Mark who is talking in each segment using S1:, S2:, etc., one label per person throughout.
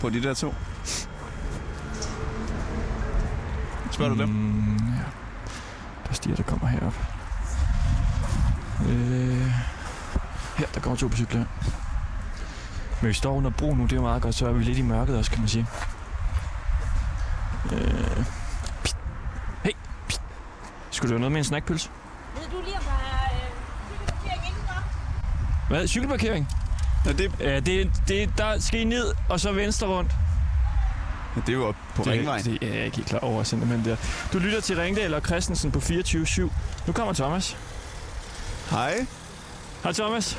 S1: på de der to? Spørger mm. du dem?
S2: Mm, ja. Der er stier, der kommer herop. Øh, her, der kommer to på cykler. Men vi står under bro nu, det er jo meget godt, så er vi lidt i mørket også, kan man sige. Øh, pst. hey, pst. Skulle du have noget med en snackpølse?
S3: Ved du lige, om der er øh, cykelparkering indenfor?
S2: Hvad? Cykelparkering?
S1: Ja, det,
S2: Ja, det, det, der skal I ned, og så venstre rundt.
S1: ja, det er jo op på det, ringvejen.
S2: Det, det er jeg ikke helt klar over, simpelthen der. Du lytter til Ringdal og Christensen på 24-7. Nu kommer Thomas.
S1: Hej.
S2: Hej Thomas.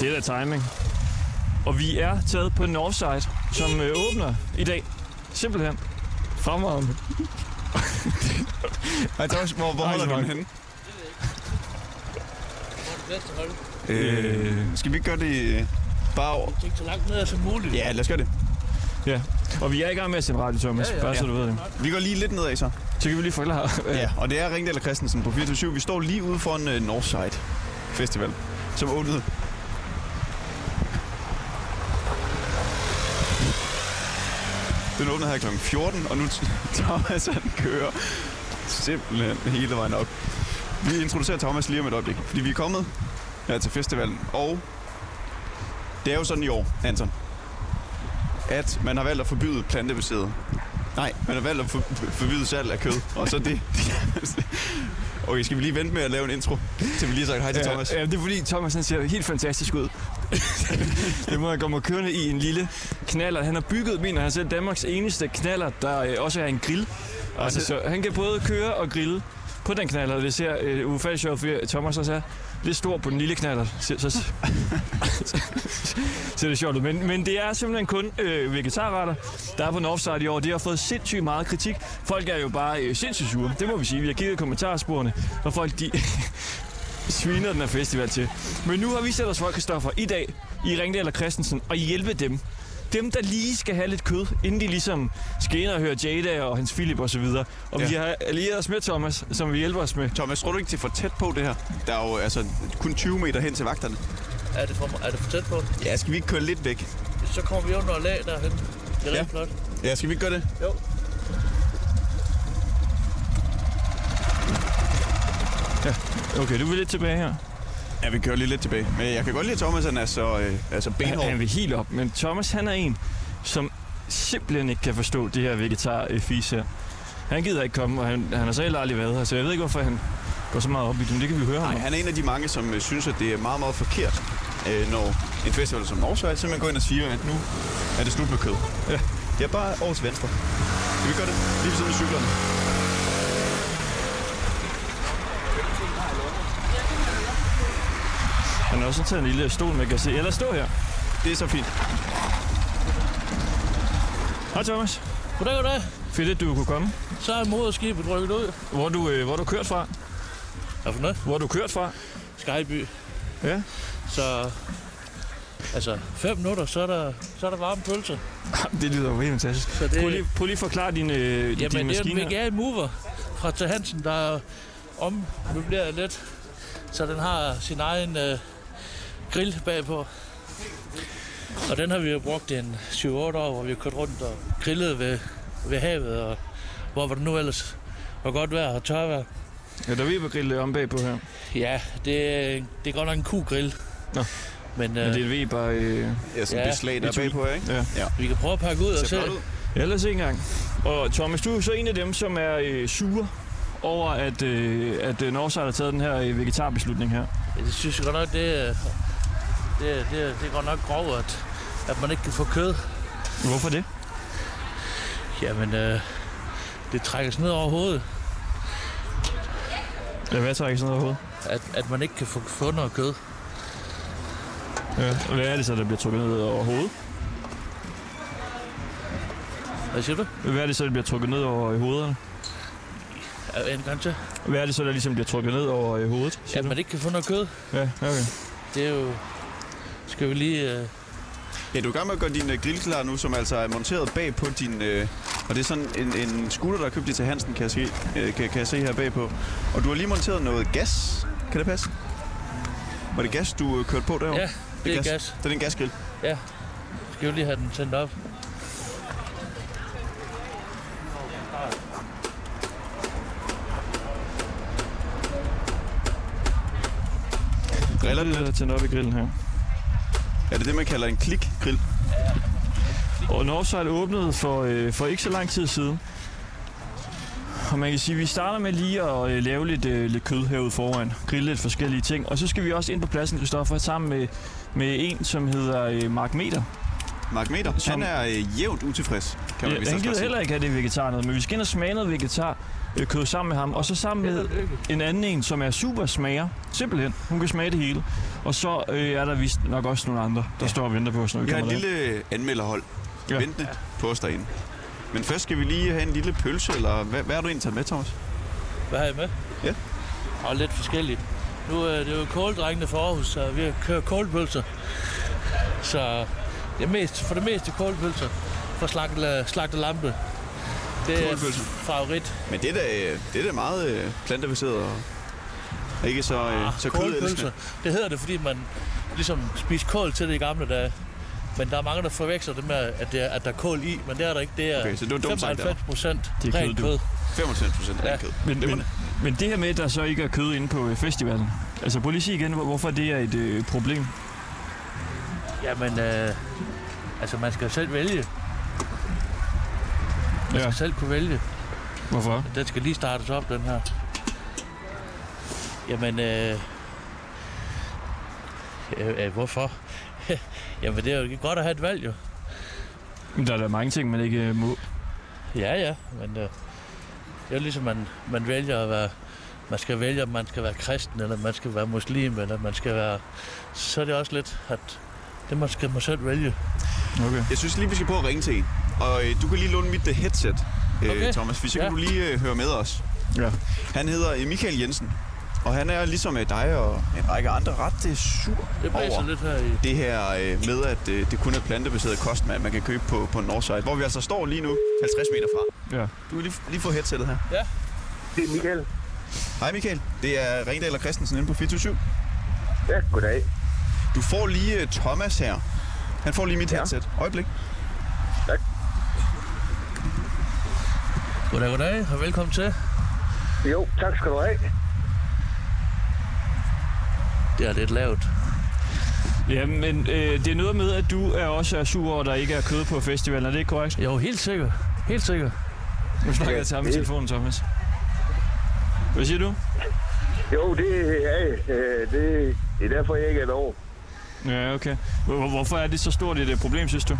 S2: Det er da timing. Og vi er taget på Northside, som øh, åbner i dag. Simpelthen. Fremragende.
S1: Hej Thomas, hvor, hvor
S2: Hej,
S1: holder du
S2: Simon.
S1: dem henne?
S4: Hvor er det bedst at holde?
S1: Øh, skal vi ikke gøre det øh, bare over?
S4: Tænk så langt ned som muligt.
S1: Ja, lad os gøre det.
S2: Og vi er i gang med at sende radio, Thomas. Ja,
S4: Ja,
S2: ja.
S4: ja.
S2: Bare så du ved det.
S1: Vi går lige lidt nedad så.
S2: Så kan vi lige forklare.
S1: Ja, og det er Ringdal og Christensen på 24 Vi står lige ude foran uh, Northside Festival, som åbnede. Den åbnede her kl. 14, og nu t- Thomas han kører simpelthen hele vejen op. Vi introducerer Thomas lige om et øjeblik, fordi vi er kommet her til festivalen, og det er jo sådan i år, Anton, at man har valgt at forbyde plantebaseret Nej, man har valgt at for, for- forbyde salg af kød, og så det. okay, skal vi lige vente med at lave en intro, til vi lige har sagt hej til
S2: Ja,
S1: Thomas?
S2: Ja, det er fordi Thomas han ser helt fantastisk ud. det må jeg komme kørende i en lille knaller. Han har bygget, mener han selv, Danmarks eneste knaller, der øh, også er en grill. Altså,
S1: det-
S2: så han kan både køre og grille på den knaller, og det ser øh, ufattelig sjovt, fordi Thomas også er lidt stor på den lille knaller. Så, så, så, ser det sjovt ud. Men, men det er simpelthen kun øh, vegetarretter, der er på Northside i år. Det har fået sindssygt meget kritik. Folk er jo bare øh, sindssygt sure. Det må vi sige. Vi har kigget i kommentarsporene, og folk de, sviner den her festival til. Men nu har vi sat os for, Kristoffer, i dag i Ringdal og Christensen og hjælpe dem. Dem, der lige skal have lidt kød, inden de ligesom skal ind og høre Jada og Hans Philip osv. Og, så videre. og ja. vi
S1: Ja.
S2: har allieret os med Thomas, som vi hjælper os med.
S1: Thomas, tror du ikke, det er for tæt på det her? Der er jo altså kun 20 meter hen til vagterne.
S4: Er det for, er det for tæt på?
S1: Ja, skal vi ikke køre lidt væk?
S4: Så kommer vi under lag derhen. Det er
S1: Ja.
S4: ja. flot.
S1: Ja, skal vi ikke gøre det?
S4: Jo.
S2: Okay, du vil lidt tilbage her.
S1: Ja, vi kører lige lidt tilbage. Men jeg kan godt lide, at Thomas han er så øh, altså benhård.
S2: Han, han vil helt op, men Thomas han er en, som simpelthen ikke kan forstå det her vegetar-fis her. Han gider ikke komme, og han, han har selv aldrig været her, så jeg ved ikke, hvorfor han går så meget op i det, men det kan vi høre
S1: Nej,
S2: ham. om.
S1: han er en af de mange, som øh, synes, at det er meget, meget forkert, øh, når en festival som Norge simpelthen går ind og siger, at nu er det slut med kød.
S2: Ja.
S1: Det er bare over til venstre. Skal vi gøre det? Lige ved siden af cyklerne.
S2: Han har også taget en lille stol, man kan se. Eller stå her.
S1: Det er så fint.
S2: Hej Thomas.
S4: Goddag, goddag.
S2: Fedt, at du kunne komme.
S4: Så er moderskibet rykket ud.
S2: Hvor er du, øh, hvor er du kørt fra?
S4: Hvad for noget?
S2: Hvor er du kørt fra?
S4: Skyby.
S2: Ja.
S4: Så... Altså, fem minutter, så er der, så er der varme pølser.
S2: Det lyder jo helt fantastisk.
S4: Så
S2: Prøv lige, prøv lige at forklare din, øh,
S4: Jamen,
S2: din
S4: det er en
S2: maskine. her.
S4: vegan mover fra T. Hansen, der om nu bliver jeg lidt, så den har sin egen øh, grill bagpå. Og den har vi jo brugt i en 7-8 år, hvor vi har kørt rundt og grillet ved, ved havet, og hvor var det nu ellers var godt vejr og tørvejr.
S2: Ja, der er Weber-grill om bagpå her.
S4: Ja, det, det er godt nok en kugrill.
S2: Nå.
S4: Men,
S2: Men
S4: øh,
S2: det er et Weber... Øh...
S1: Ja, sådan
S4: Ja,
S1: det slag, der er
S2: etui.
S1: bagpå her, ikke?
S2: Ja.
S4: vi kan prøve at pakke ud og se.
S1: Ser flot ud.
S2: ja, lad os se engang. Og Thomas, du er jo så en af dem, som er øh, sure over, at, øh, at øh, Northside har taget den her øh, vegetarbeslutning her.
S4: Ja, det synes jeg godt nok, det, er- det, er- det, er- det er godt nok grov, at, at man ikke kan få kød.
S2: Hvorfor det?
S4: Jamen, øh, det trækkes ned over hovedet,
S2: Ja, hvad tager ikke sådan noget overhovedet?
S4: at, at man ikke kan få, få noget kød.
S2: Ja. Hvad er det så, der bliver trukket ned over hovedet?
S4: Hvad siger du?
S2: Hvad er det så, der bliver trukket ned over i hovederne?
S4: Er- En gang til.
S2: Hvad er det så, der ligesom bliver trukket ned over i hovedet? siger
S4: At
S2: du?
S4: man ikke kan få noget kød,
S2: Ja, okay.
S4: det er jo... Skal vi lige... Øh,
S1: Ja, du er i gang med at gøre din øh, grill klar nu, som altså er monteret bag på din... Øh, og det er sådan en, en scooter, der er købt i til Hansen, kan jeg, se, øh, kan, kan jeg se her bagpå. Og du har lige monteret noget gas. Kan det passe? Var det gas, du øh, kørte på derovre?
S4: ja, det er gas.
S1: Det er en gasgrill.
S4: Skal vi lige have den tændt op?
S1: Driller den
S2: lige at tænde op i grillen her.
S1: Er det det, man kalder en klik-grill?
S2: Og Northside åbnede for, øh, for ikke så lang tid siden. Og man kan sige, at vi starter med lige at øh, lave lidt, øh, lidt kød herude foran. Grille lidt forskellige ting. Og så skal vi også ind på pladsen, Kristoffer, sammen med, med en, som hedder øh, Mark Meter.
S1: Mark Meter,
S2: Som-
S1: han er øh, jævnt utilfreds, kan man vist
S2: Øh, han
S1: også
S2: gider
S1: godt sige.
S2: heller ikke have det vegetar noget, men vi skal ind og smage noget vegetar øh, kød sammen med ham. Og så sammen med en anden en, som er super smager. Simpelthen. Hun kan smage det hele. Og så øh, er der vist nok også nogle andre, der står og venter på os, når vi
S1: Vi har
S2: kommer
S1: et
S2: der.
S1: lille anmelderhold
S2: Ja.
S1: ja. ventende på os derinde. Men først skal vi lige have en lille pølse, eller hvad, hvad har du egentlig taget med, Thomas?
S4: Hvad har I med?
S1: Ja.
S4: Og lidt forskelligt. Nu øh, det er det jo kåldrengene for Aarhus, så vi kører kålpølser. Så det er mest, for det meste kålpølser fra slagte, slagte lampe. Det er
S1: Kålpølser.
S4: favorit.
S1: Men det er da, øh, det er da meget øh, plantebaseret og og ikke så, øh,
S4: Ah,
S1: så kødelskende.
S4: Det hedder det, fordi man ligesom spiser kål til det i gamle dage. Men der er mange, der forveksler det med, at, det er, at der er kål i, men det er der ikke. Det er
S1: Okay, så det var dumt sagt,
S4: 95 procent
S2: Det er kød,
S4: rent
S2: du.
S4: kød.
S1: 95 procent
S4: Ja.
S1: af kød.
S2: Men,
S1: Det var
S2: men, men det her med, at der så ikke er kød inde på øh, festivalen, altså prøv lige at sige igen, hvor- hvorfor det er et øh, problem.
S4: Jamen, øh, altså man skal jo selv vælge. Man
S2: Ja.
S4: skal selv kunne vælge.
S2: Hvorfor?
S4: Den skal lige startes op, den her. Jamen, øh, øh, øh, hvorfor? Jamen, det er jo godt at have et valg, jo.
S2: Men der er der mange ting, man ikke øh, må.
S4: Ja, ja, men øh, det er jo ligesom, man, man vælger at være... Man skal vælge, om man skal være kristen, eller man skal være muslim, eller man skal være... Så er det også lidt, at det man skal man selv vælge.
S2: Okay.
S1: Jeg synes lige, vi skal prøve at ringe til en. Og øh, du kan lige låne mit øh, headset, øh,
S4: Okay.
S1: okay. Thomas, hvis så
S4: Ja.
S1: kan du lige øh, høre med os.
S2: Ja.
S1: Han hedder øh, Michael Jensen, og han er ligesom øh, dig og en række andre ret øh, sur
S4: Det blæser
S1: over
S4: lidt her i...
S1: det her øh, med, at øh, det kun er plantebaseret kost, man, man kan købe på, på Northside, hvor vi altså står lige nu 50 meter fra.
S2: Ja.
S1: Du kan lige, lige få headsettet her.
S4: Ja.
S5: Det er Michael.
S1: Hej Michael, det er Ringdal og Christensen inde på 427.
S5: Ja, goddag.
S1: Du får lige øh, Thomas her. Han får lige mit ja. headset. Øjeblik.
S4: Goddag, goddag, og velkommen til.
S5: Jo, tak skal du have.
S4: Det er lidt lavt.
S2: Ja, men øh, det er noget med, at du er også er sur over, at der ikke er kød på festivalen. Er det ikke korrekt?
S4: Jo, helt sikkert. Helt sikkert.
S2: Nu snakker
S5: Ja,
S2: jeg til ham i
S5: det-
S2: telefonen, Thomas. Hvad siger du?
S5: Jo, det er øh, det, det er derfor, jeg ikke er derovre.
S2: Ja, okay. Hvor- hvor- Hvorfor er det så stort et øh, problem, synes du?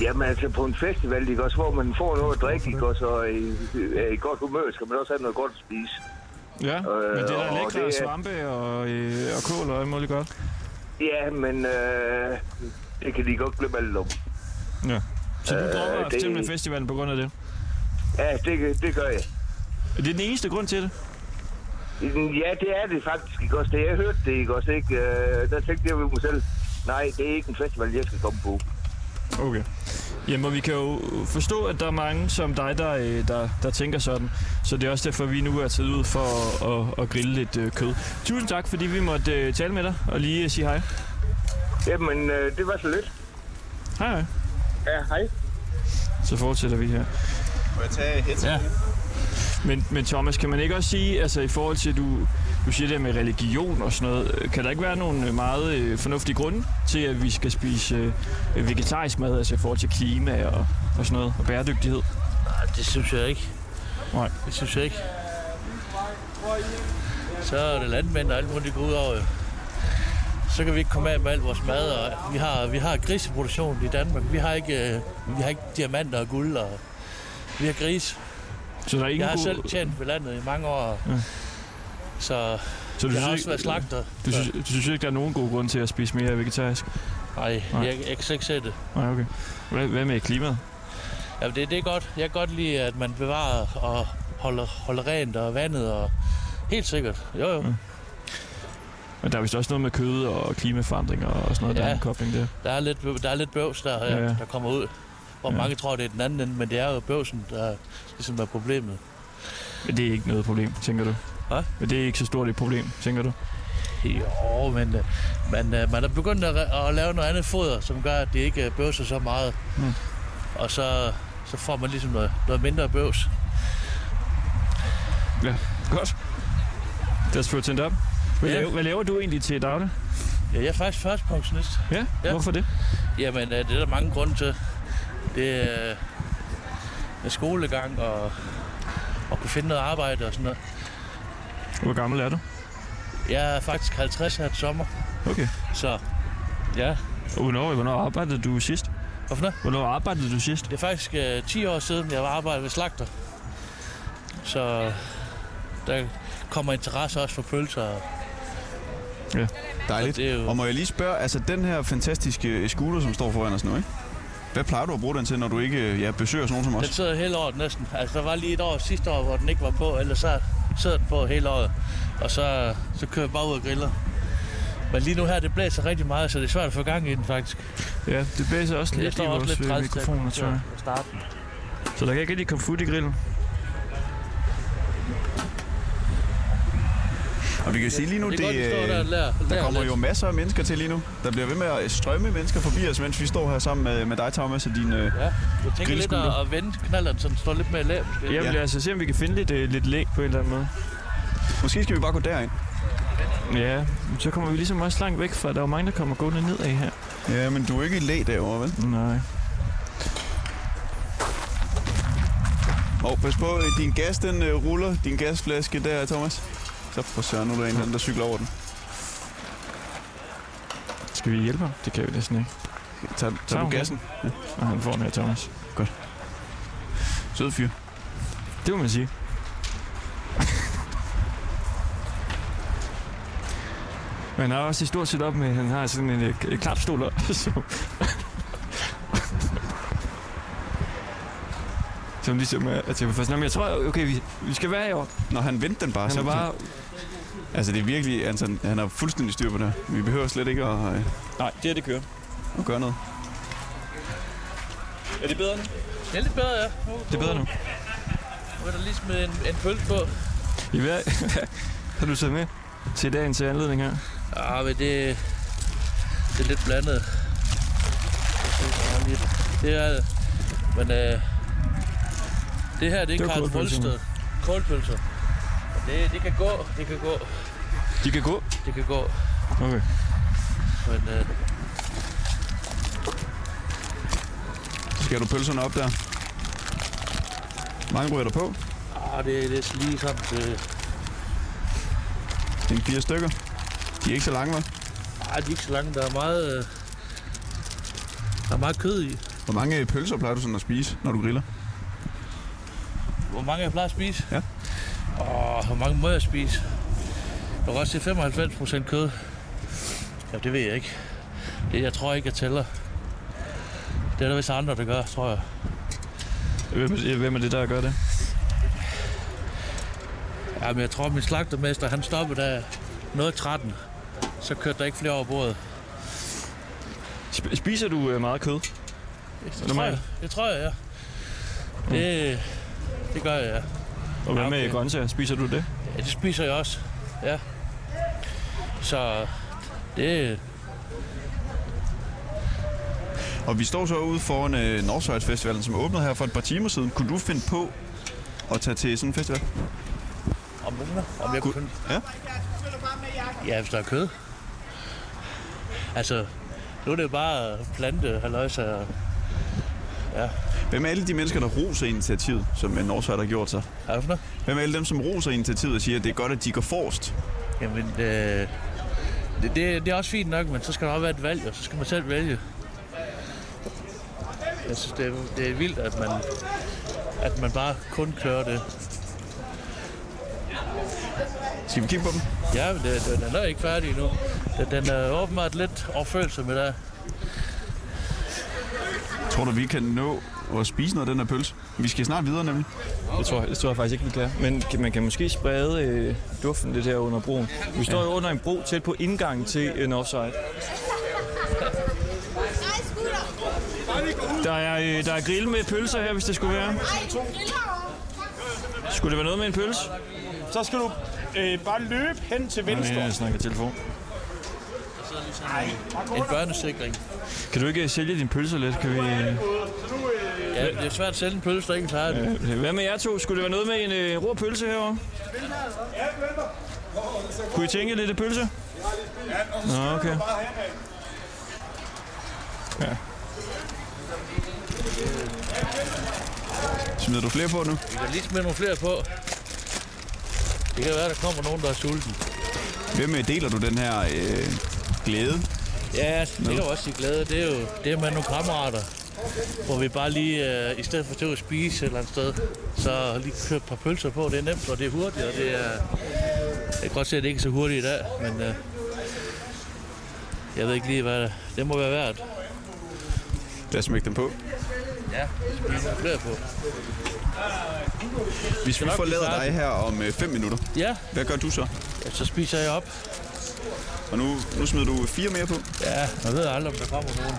S5: Jamen altså på en festival, ikke også, hvor man får noget at drikke, ikke også, og i, er i godt humør, skal man også have noget godt at spise.
S2: Ja, øh,
S5: Øh,
S2: men det er da
S5: og
S2: lækre
S5: det er-
S2: svampe og, øh, og kål og alt muligt godt.
S5: Ja, men øh, det kan de godt glemme alt om.
S2: Ja. Så du
S5: Øh,
S2: dropper øh,
S5: det-
S2: simpelthen festivalen på grund af det.
S5: Ja, det, det gør jeg.
S2: Er det den eneste grund til det?
S5: Ja, det er det faktisk, ikke også. Da jeg hørte det, ikke også, ikke, øh, der tænkte jeg ved mig selv, nej, det er ikke en festival, jeg skal komme på.
S2: Okay. Jamen, og vi kan jo forstå, at der er mange som dig, der, øh, der, der tænker sådan. Så det er også derfor, vi nu er taget ud for at, at, at grille lidt øh, kød. Tusind tak, fordi vi måtte øh, tale med dig og lige øh, sige hej.
S5: Jamen, øh, det var så lidt.
S2: Hej, hej.
S5: Ja, hej.
S2: Så fortsætter vi her.
S1: Må jeg tage headset?
S4: Ja.
S2: Men, men Thomas, kan man ikke også sige, altså i forhold til, du, du siger det her med religion og sådan noget, øh, kan der ikke være nogle øh, meget øh, fornuftige grunde til, at vi skal spise øh, vegetarisk mad, altså i forhold til klima og, og sådan noget, og bæredygtighed?
S4: Ej, Det synes jeg ikke.
S2: Nej.
S4: Det synes jeg ikke. Så er det landmænd og alt muligt, det går ud over. jo. Så kan vi ikke komme af med al vores mad. Og vi, har, vi har griseproduktion i Danmark. Vi har ikke, øh, vi har ikke diamanter og guld. Og vi har gris.
S2: Så der er ingen
S4: Jeg har
S2: god-
S4: selv tjent ved landet i mange år.
S2: Ja.
S4: Så
S2: så du
S4: jeg
S2: synes
S4: har
S2: ikke-
S4: også været slagter.
S2: Du synes, du synes ikke, der er nogen god grund til at spise mere vegetarisk?
S4: Nej,
S2: Nej.
S4: jeg, jeg kan slet ikke se det.
S2: Nej, okay. Hvad, hvad med klimaet?
S4: Jamen, det, det er godt. Jeg kan godt lide, at man bevarer og holder, holder rent og vandet. Og... Helt sikkert. Jo, jo.
S2: Men der er vist også noget med kød og klimaforandringer og sådan noget, ja. der er
S4: Ja.
S2: en kobling der.
S4: Der er lidt, bøv- der er lidt bøvs, der,
S2: Ja,
S4: ja,
S2: ja.
S4: der kommer ud. Hvor
S2: Ja.
S4: ja. mange tror, det er den anden ende, men det er jo bøvsen, der ligesom er problemet.
S2: Men det er ikke noget problem, tænker du?
S4: Hvad?
S2: Men det er ikke så stort et problem, tænker du?
S4: Jo, men øh, man, øh, man er begyndt at, re- at lave noget andet foder, som gør, at det ikke øh, bøvser så meget.
S2: Mm.
S4: Mm. Og så, så får man ligesom noget, noget mindre bøvs.
S2: Godt. That's for tændt op. Hvad,
S4: Ja.
S2: laver, hvad laver du egentlig til daglig?
S4: Ja, jeg er faktisk førstepensionist.
S2: Ja? ja,
S4: Ja.
S2: hvorfor det?
S4: Jamen, øh, det er der mange grunde til. Det er øh, med skolegang og, og kunne finde noget arbejde og sådan noget.
S2: Hvor gammel er du?
S4: Jeg er faktisk 50 her til sommer,
S2: Okay.
S4: så ja.
S2: Og Hvornår, hvornår arbejdede du sidst?
S4: Hvorfor det?
S2: Hvornår arbejdede du sidst?
S4: Det er faktisk øh, 10 år siden, jeg var arbejdet ved slagter. Så der kommer interesse også for pølser. og- Og
S1: Dejligt.
S4: det er jo-
S1: Og må jeg lige spørge, altså den her fantastiske øh, scooter, som står foran os nu, ikke? Hvad plejer du at bruge den til, når du ikke øh, ja, besøger sådan nogen som
S4: Den
S1: os?
S4: sidder hele året næsten. Altså, der var lige et år sidste år, hvor den ikke var på, ellers så sidder den på hele året. Og så, så kører jeg bare ud og griller. Men lige nu her, det blæser rigtig meget, så det er svært at få gang i den faktisk.
S2: Ja, det blæser også
S4: Jeg
S2: lidt i
S4: står også
S2: vores
S4: lidt
S2: øh,
S4: træls til
S2: mikrofoner, tror jeg.
S4: at starte.
S2: Så der kan ikke rigtig komme fut i grillen.
S1: Og vi kan sige lige nu,
S4: Det er
S1: det,
S4: godt, de står der og
S1: øh,
S4: lærer.
S1: der
S4: lærer
S1: kommer
S4: lidt.
S1: jo masser af mennesker til lige nu. Der bliver ved med at øh, strømme mennesker forbi os, mens vi står her sammen med, med dig, Thomas, og din... Øh,
S4: Ja, jeg tænker lidt
S1: grillskutter.
S4: at, at vende knalleren, så den står lidt mere lav. måske.
S2: Jamen,
S1: Ja.
S2: ja. altså se om vi kan finde lidt, øh, lidt læg på en eller anden måde.
S1: måske skal vi bare gå derind.
S2: Ja, men så kommer vi ligesom også langt væk fra, der er jo mange, der kommer gående nedad her.
S1: Ja, men du er ikke i læ derovre, vel?
S2: Nej.
S1: Og pas på, øh, din gas den øh, ruller, din gasflaske der, Thomas. Så for søren, nu er der en eller anden, der cykler over den.
S2: Skal vi hjælpe ham? Det kan vi næsten ikke.
S1: Tag, tag du
S2: hun
S1: gassen?
S2: Og han får den her, Thomas.
S1: Sød fyr.
S2: Det må man sige. Men han har også et stort setup med, han har sådan en, øh, k- klapstol op, som, som ligesom er til først. Nå, men jeg tror, okay, vi, vi skal være herovre.
S1: Når han vendte den bare.
S2: Han er
S1: sådan-
S2: bare...
S1: Altså, det er virkelig... Altså, han har fuldstændig styr på det her. Vi behøver slet ikke at, øh,
S2: Nej, det her, det kører.
S1: at gøre noget.
S2: Er det bedre nu?
S4: Det er lidt bedre, ja. Nu,
S2: Det er bedre nu.
S4: Nu er der lige smidt en, en pølse på.
S2: I hvad? har du taget med til dagens anledning her?
S4: Ah, men det, det er lidt blandet. Jeg synes, jeg har lige- Det er det. Men øh, det her, det er
S2: var
S4: Karls
S2: kålpølserne.
S4: Brølsted. Kålpølser. Det, det kan gå, det kan gå,
S2: De kan gå.
S4: det kan gå.
S2: Okay.
S4: Men øh,
S1: Skal du pølserne op der? Mange ryger der på.
S4: ah, det, det er Øh, lige sådan, det,
S1: En fire stykker. De er ikke så lange, hva'?
S4: ah, de er ikke så lange. Der er meget, øh, der er meget kød i.
S1: Hvor mange øh, pølser plejer du sådan at spise, når du griller?
S4: Hvor mange jeg plejer at spise?
S1: Ja.
S4: Åh, hvor mange må jeg spise? Jeg kan også se 95 procent kød. Ja, det ved jeg ikke. Det, jeg tror ikke, jeg tæller. Det er der vist andre, der gør, tror jeg.
S2: Hvem er, det, hvem er det, der gør det?
S4: Ja, men jeg tror, min slagtermester, han stoppede da noget 13. Så kørte der ikke flere over bordet.
S2: Sp- Spiser du øh, meget kød?
S4: Det tror
S2: Normalt?
S4: jeg, det tror jeg ja. Det, det gør jeg, ja.
S2: Og hvad
S4: Ja,
S2: med
S4: okay.
S2: grøntsager? Spiser du det?
S4: ja. det spiser jeg også. Ja. Så det,
S1: Og vi står så ude foran øh, Northside Festivalen, som åbnede her for et par timer siden. Kunne du finde på at tage til sådan en festival?
S4: Om måneder? Om jeg kunne...
S1: Ja.
S4: Ja, hvis der er kød. Altså, nu er det jo bare plante, halløjsa. og-
S1: Hvem er alle de mennesker, der roser initiativet, som øh, Northside har gjort sig?
S4: Hvad er det for noget?
S1: Hvem er alle dem, som roser initiativet og siger, at det er godt, at de går forrest?
S4: Jamen, øh, det, det, det, er også fint nok, men så skal der også være et valg, og så skal man selv vælge. Jeg synes, det er, det er vildt, at man, at man bare kun kører det.
S1: Skal vi kigge på dem?
S4: Ja, men det, den- den er ikke færdig endnu. Den, den er åbenbart lidt overfølsom i dag.
S1: Tror du, vi kan nå at spise noget af den her pølse? Vi skal snart videre nemlig.
S2: Det tror, det tror jeg faktisk ikke, vi kan. Men kan- man kan måske sprede øh, duften lidt her under broen. Vi står jo under en bro tæt på indgangen til øh, en offside.
S3: Nej, skulder.
S2: Der er, øh, der er grill med pølser her, hvis det skulle være.
S3: Ej, du griller over.
S2: Skulle det være noget med en pølse?
S6: Så skal du øh, bare løbe hen til venstre.
S2: jeg snakker telefon.
S4: En børnesikring.
S2: Kan du ikke øh, sælge dine pølser lidt? Kan vi... øh,
S4: Ja, det er svært at sælge en pølse, der ikke er færdig.
S2: Hvad med jer to? Skulle det være noget med en øh, rå pølse herovre? Kunne I tænke lidt af pølse? Nå, okay.
S1: Smider du flere på nu?
S4: Vi kan lige smide nogle flere på. Det kan være, der kommer nogen, der er sulten.
S1: Hvem øh, deler du den her øh, glæde?
S4: Ja, altså, det er jo også i glæde. Det er jo det er med nogle kammerater, hvor vi bare lige, øh, i stedet for til at spise et eller andet sted, så lige købe et par pølser på. Det er nemt, og det er hurtigt, og det er... Jeg kan godt se, at det ikke er så hurtigt i dag, men øh, jeg ved ikke lige, hvad det, det må være værd.
S1: Lad os smække den på.
S4: Ja, vi nogle flere på.
S1: Hvis vi
S4: nok blive
S1: forlader dig
S4: færdige.
S1: her om 5 minutter,
S4: Ja,
S1: hvad gør du så?
S4: ja, så spiser jeg op.
S1: Og nu, nu smider du fire mere på.
S4: Ja, man ved aldrig, om der kommer nogen.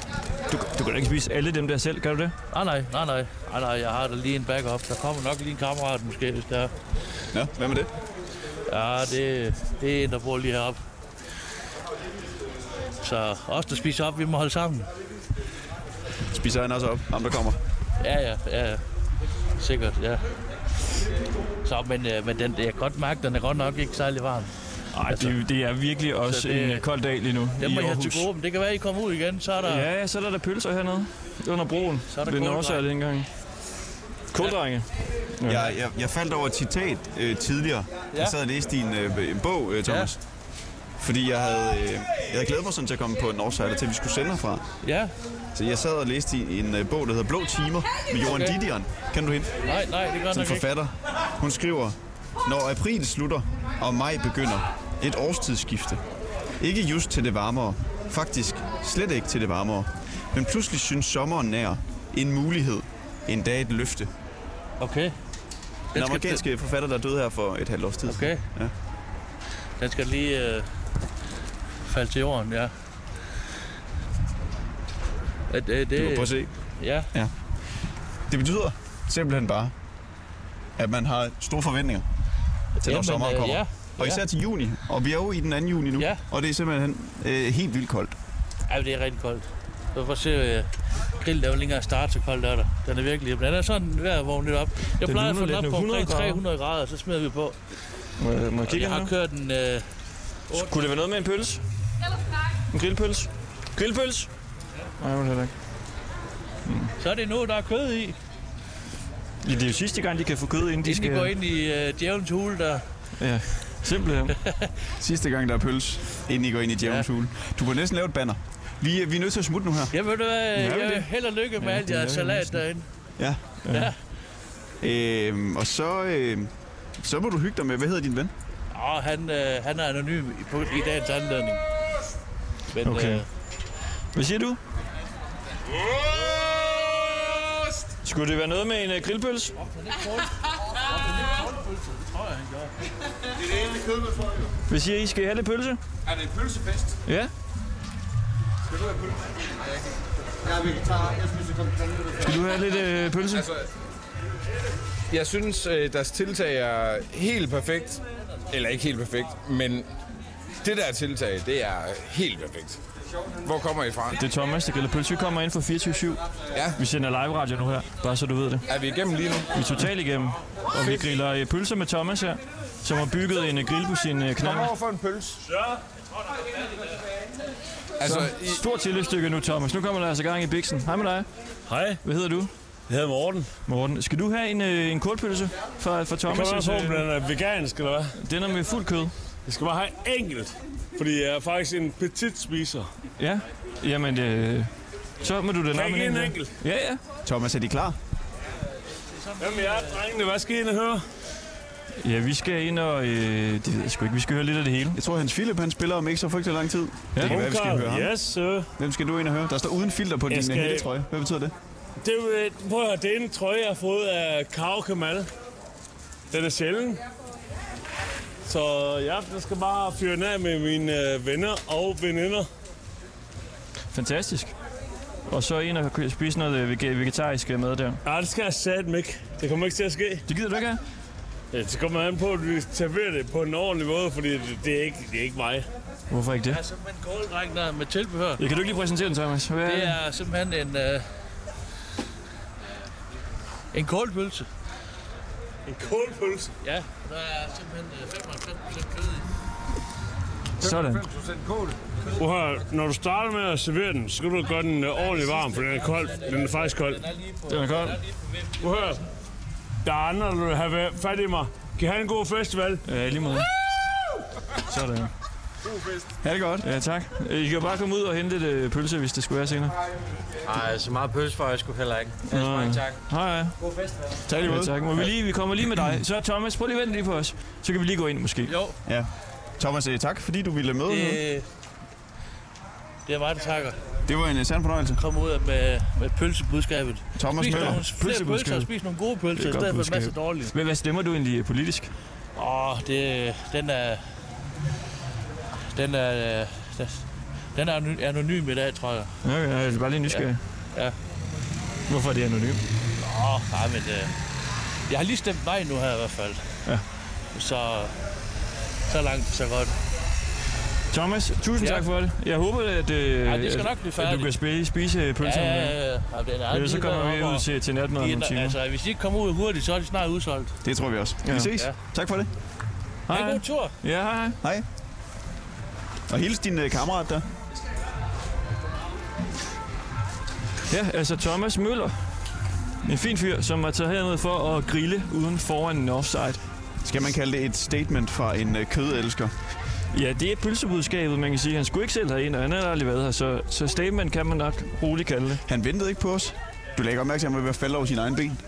S2: Du, du kan da ikke spise alle dem der selv, kan du det?
S4: Nej, nej, nej, nej. Nej, nej, jeg har da lige en backup. Der kommer nok lige en kammerat måske, hvis der er.
S1: Ja, hvad med det?
S4: Ja, det, det er en, der bor lige heroppe. Så os, der spiser op, vi må holde sammen.
S1: Spiser han også op, ham der kommer.
S4: Ja, ja, ja. ja. Sikkert, ja. Så, men, øh, men den, jeg kan godt mærke, den er godt nok ikke særlig varm.
S2: Nej, det, det er virkelig også
S4: Altså, Så det-
S2: det, en øh, kold dag lige nu
S4: Den
S2: i
S4: må jeg have
S2: Aarhus.
S4: til gode, men det kan være, I kommer ud igen, så er der...
S2: Ja, ja, så er der, der pølser hernede under broen.
S4: Så er der
S2: Ved
S4: kåldrenge.
S2: Nordsjælland dengang. Kuldrenge.
S1: Jeg, jeg, jeg faldt over et citat øh, tidligere. Ja.
S4: Ja.
S1: Jeg sad og læste din øh, bog, øh, Thomas. Ja. Fordi jeg havde, øh, jeg havde glædet mig sådan til at komme på en Northsider, til vi skulle sende herfra.
S4: ja.
S1: Så jeg sad og læste i en øh, bog, der hedder Blå Timer med Johan okay.
S4: Okay.
S1: Didion. Kan du hende?
S4: Nej, nej, det gør
S1: Som
S4: nok ikke.
S1: forfatter. Hun skriver, når april slutter og maj begynder, et årstidsskifte. Ikke just til det varmere. Faktisk slet ikke til det varmere. Men pludselig synes sommeren nær. En mulighed. En dag et løfte.
S4: Okay.
S1: Den
S4: skal-
S1: amerikanske forfatter, der døde her for et halvt års tid. siden.
S4: Okay.
S1: Ja.
S4: Ja. Den skal lige øh, falde til jorden, ja. Ja, Det,
S1: Du kan prøve at
S4: det,
S1: se.
S4: ja,
S1: Det betyder simpelthen bare, at man har store forventninger til, når
S4: Jamen,
S1: sommeren
S4: øh,
S1: kommer.
S4: ja,
S1: Og især
S4: ja.
S1: til juni. Og vi er jo i den 2. juni nu.
S4: Ja.
S1: Og det er simpelthen øh, helt vildt koldt.
S4: Ja, det er rigtig koldt. Så får se, øh, grillen er jo ikke engang starte så koldt er der. Den er virkelig, men den er sådan vejr vågen lidt op. Jeg
S2: Den
S4: plejer at få den
S2: luner
S4: op
S2: lidt
S4: på
S2: nu. 100
S4: omkring
S2: grader.
S4: 300 grader, så smider vi på. Og
S2: Må jeg, må jeg kigge
S4: jeg har
S2: her?
S4: kørt den, øh,
S2: Kunne det være noget med en pølse? En grillpølse? Grillpølse? Nej, det heller ikke.
S4: så er det nu, der er kød i.
S2: Ja, Det er jo sidste gang, de kan få kød, inden de
S4: Inden
S2: skal...
S4: de går ind i øh, djævelens hule, der
S2: Ja, simpelthen.
S1: Sidste gang, der er pøls, inden I går ind i Djævelens ja.
S4: Ja.
S1: Hule. Du må næsten lave et banner. Vi, er- vi er nødt til at smutte nu her.
S4: Jeg ved du hvad,
S1: Ja,
S4: jeg
S1: det.
S4: vil held og lykke med
S2: Ja,
S4: ja, alt
S2: det er
S4: jeres
S2: det
S4: salat
S2: næsten.
S4: derinde.
S1: Ja.
S4: Ja.
S1: Øhm, og så, øh, så må du hygge dig med, hvad hedder din ven?
S4: Og han, øh, han er anonym i, på, i dagens anledning. Men,
S2: Okay.
S4: øh,
S2: Hvad siger du? Skulle det være noget med en øh, grillpølse? Hvad siger I? Skal I have lidt pølse?
S7: Er det en pølsefest?
S2: Ja.
S7: Skal du have pølse? Jeg er vegetar. Jeg spiser kun planter.
S2: Vil du have lidt øh, pølse?
S7: Altså- Jeg synes, øh, deres tiltag er helt perfekt. Eller ikke helt perfekt, men det der tiltag, det er helt perfekt. Hvor kommer I fra?
S2: Det er Thomas, der gælder pølse. Vi kommer ind fra 24-7.
S7: Ja.
S2: Vi sender live radio nu her, bare så du ved det.
S7: Er vi igennem lige nu?
S2: Vi er totalt igennem. Og vi griller øh, pølser med Thomas her, som har bygget en øh, grill på sin øh,
S7: Kom
S2: knald.
S7: over for en pølse. Ja. Altså, I,
S2: Stort tillægsstykke nu, Thomas. Nu kommer der altså gang i biksen. Hej med dig.
S8: Hej,
S2: Hvad hedder du?
S8: jeg hedder Morten.
S2: Morten. Skal du have en, øh, en kortpølse fra, fra
S8: Kan
S2: Thomas? Altså,
S8: man på, om den er vegansk, eller hvad?
S2: Den er med fuld kød.
S8: Jeg skal bare have enkelt, fordi jeg er faktisk en petit spiser.
S2: Ja. Jamen, øh, så må du den
S8: Kan
S2: op
S8: jeg
S2: med
S8: give en
S2: her.
S8: enkelt?
S2: Ja, ja.
S1: Thomas, er de klar?
S8: Hvem er jeg, drengene? Hvad skal I ind og høre?
S2: Ja, vi skal ind og... Øh, det ved jeg sgu ikke. Vi skal høre lidt af det hele.
S1: Jeg tror, Hans Philip han spiller om ikke så frygtelig lang tid. Ja. Det kan være, vi skal
S8: Ungkarl,
S1: høre ham.
S8: Yes, sir.
S1: Hvem skal du ind og høre? Der står uden filter på din skal...
S8: skal-
S1: hættetrøje. Hvad betyder det?
S8: Det, er jo, øh, prøv at høre, det er en trøje, jeg har fået af Karo Kamal. Den er sjælden. Så i aften jeg skal bare fyre den af med mine øh, venner og veninder.
S2: Fantastisk. Og så ind og kø- spise noget øh, vege- vegetarisk øh, mad der.
S8: Nej, det skal jeg satme ikke. Det kommer ikke til at ske.
S2: Det gider du ikke have?
S8: Ja, Det kommer an på, at vi serverer det på en ordentlig måde, fordi det, det, er, ikke, det er ikke mig.
S2: Hvorfor ikke det?
S4: der er simpelthen kåldreng der med tilbehør.
S2: Jeg kan du ikke lige præsentere den, Thomas? Hvad
S4: Det er simpelthen en, øh, en kålpølse.
S8: En kålpølse.
S4: Ja, der er simpelthen øh, 95% kød i.
S2: Sådan.
S8: Uha, når du starter med at servere den, skal du gøre den øh, ordentligt varm, for den er kold. Den er faktisk kold.
S2: Den er kold.
S8: Uha, der er andre, der vil have været fat i mig. Kan I have en god festival?
S2: Ja, i lige måde. Sådan.
S1: Ha' det godt.
S2: Ja, tak. Øh, I kan jo bare komme ud og hente et øh, pølse, hvis det skulle være senere.
S9: Nej, så meget pølse får jeg sgu heller ikke. Ellers
S2: Nej.
S9: mange tak.
S2: Hej, hej.
S1: Tak lige
S2: Ja,
S1: måde.
S2: tak. Må vi, lige, vi kommer lige med dig. Så Thomas, prøv lige at vente lige på os. Så kan vi lige gå ind måske.
S4: Jo,
S1: Ja. Thomas, øh, tak fordi du ville med.
S4: det, det er mig, der takker.
S1: Det var en øh, sand fornøjelse.
S4: Kom ud med, med pølsebudskabet.
S1: Thomas
S4: Spis
S1: Møller.
S4: nogle flere pølser og spis nogle gode pølser, i
S2: godt
S4: stedet for en
S2: budskab.
S4: masse dårlige.
S2: Men hvad stemmer du egentlig øh, politisk?
S4: Åh, det, den er... Den er... øh, Den, den er anony- anonym i dag, tror jeg.
S2: Okay, jeg er bare lige nysgerrig.
S4: Ja.
S2: Hvorfor er det anonymt?
S4: Åh, nej, men... Øh, jeg har lige stemt nej nu her i hvert fald.
S2: Ja.
S4: Så... Så langt, så godt.
S2: Thomas, tusind ja.
S4: Ja.
S2: tak for det. Jeg håber, at, øh,
S4: Ej, det skal nok blive
S2: at du
S4: færdigt.
S2: kan spise, spise øh, pølserne.
S4: Ja, ja, ja. ja. Den er
S2: Ellers så
S4: lige
S2: kommer vi
S4: deroppe,
S2: ud
S4: og
S2: til, til natmad om
S4: de er
S2: nogle
S4: der-
S2: timer. Altså.
S4: Altså, hvis de ikke kommer ud hurtigt, så er de snart udsolgt.
S1: Det tror vi også. Vi
S2: Ja.
S1: ses.
S4: Ja.
S1: Tak for det.
S4: Ha' en
S2: Hej.
S4: god tur.
S2: Ja, hej. hej.
S1: Hej. Og hils din øh, kammerat der.
S2: Ja, altså Thomas Møller. En fin fyr, som er taget herned for at grille uden foran en offside.
S1: Skal man kalde det et statement fra en øh, kødelsker?
S2: Ja, det er pølsebudskabet, man kan sige. Han skulle ikke selv herind, og han har aldrig været her. Så, så statement kan man nok roligt kalde det.
S1: Han ventede ikke på os. Du lagde ikke opmærke til, at han var ved at falde over sin egen ben.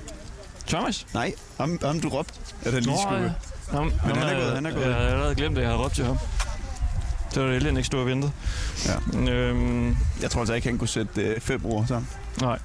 S2: Thomas?
S1: Nej, ham, ham du råbte, at han lige
S2: Nå,
S1: skulle...
S2: ja. Nå, men
S1: han er gået, han er gået.
S2: Jeg havde allerede glemt, at jeg havde råbt til ham. Så var det heldigt, han ikke stod og ventede. Ja. Øhm,
S1: Jeg tror altså ikke, han kunne sætte øh, fem ord sammen.
S2: nej.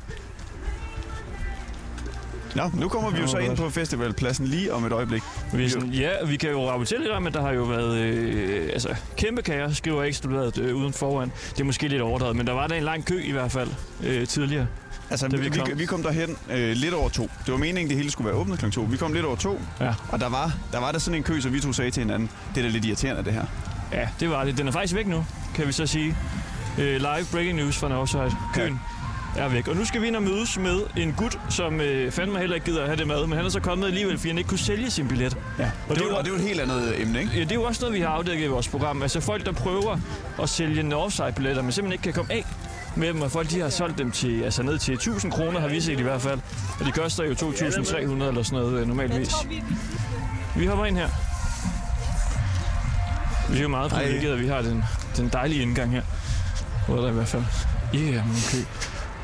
S1: Nå, nu kommer vi jo
S2: Nå,
S1: så
S2: godt.
S1: ind på festivalpladsen lige om et øjeblik.
S2: Vi er sådan, ja, vi kan jo rapportere lidt om, at der har jo været øh, altså, kæmpe kager, skriver Ekstrabladet øh, uden foran. Det er måske lidt overdrevet, men der var da en lang kø i hvert fald øh, tidligere.
S1: Altså,
S2: Da
S1: vi,
S2: vi
S1: vi,
S2: kom.
S1: vi kom derhen øh, lidt over to. Det var meningen, det hele skulle være åbnet kl. to. Vi kom lidt over to,
S2: Ja.
S1: og der var, der var der sådan en kø, så vi to sagde til hinanden, det er da lidt irriterende, det her.
S2: Ja, det var det. Den er faktisk væk nu, kan vi så sige. Øh, live breaking news fra Northside. Køen er væk. Og nu skal vi ind og mødes med en gut, som øh, fandme heller ikke gider at have det mad, men han er så kommet alligevel, fordi han ikke kunne sælge sin billet.
S1: Ja. Og,
S2: det
S1: det, var,
S2: var-
S1: og det var et helt andet øh, emne, ikke?
S2: Ja, det er jo også noget, vi har afdækket i vores program. Altså folk, der prøver at sælge Northside-billetter, men simpelthen ikke kan komme af med dem, og folk de har solgt dem til, altså ned til 1000 kroner, har vi set i hvert fald. Og de koster jo 2.300 eller sådan noget øh, normalvis. Vi hopper ind her. Vi er jo meget privilegerede, at vi har den, den dejlige indgang her. Hvor der i hvert fald. Yeah, man kø.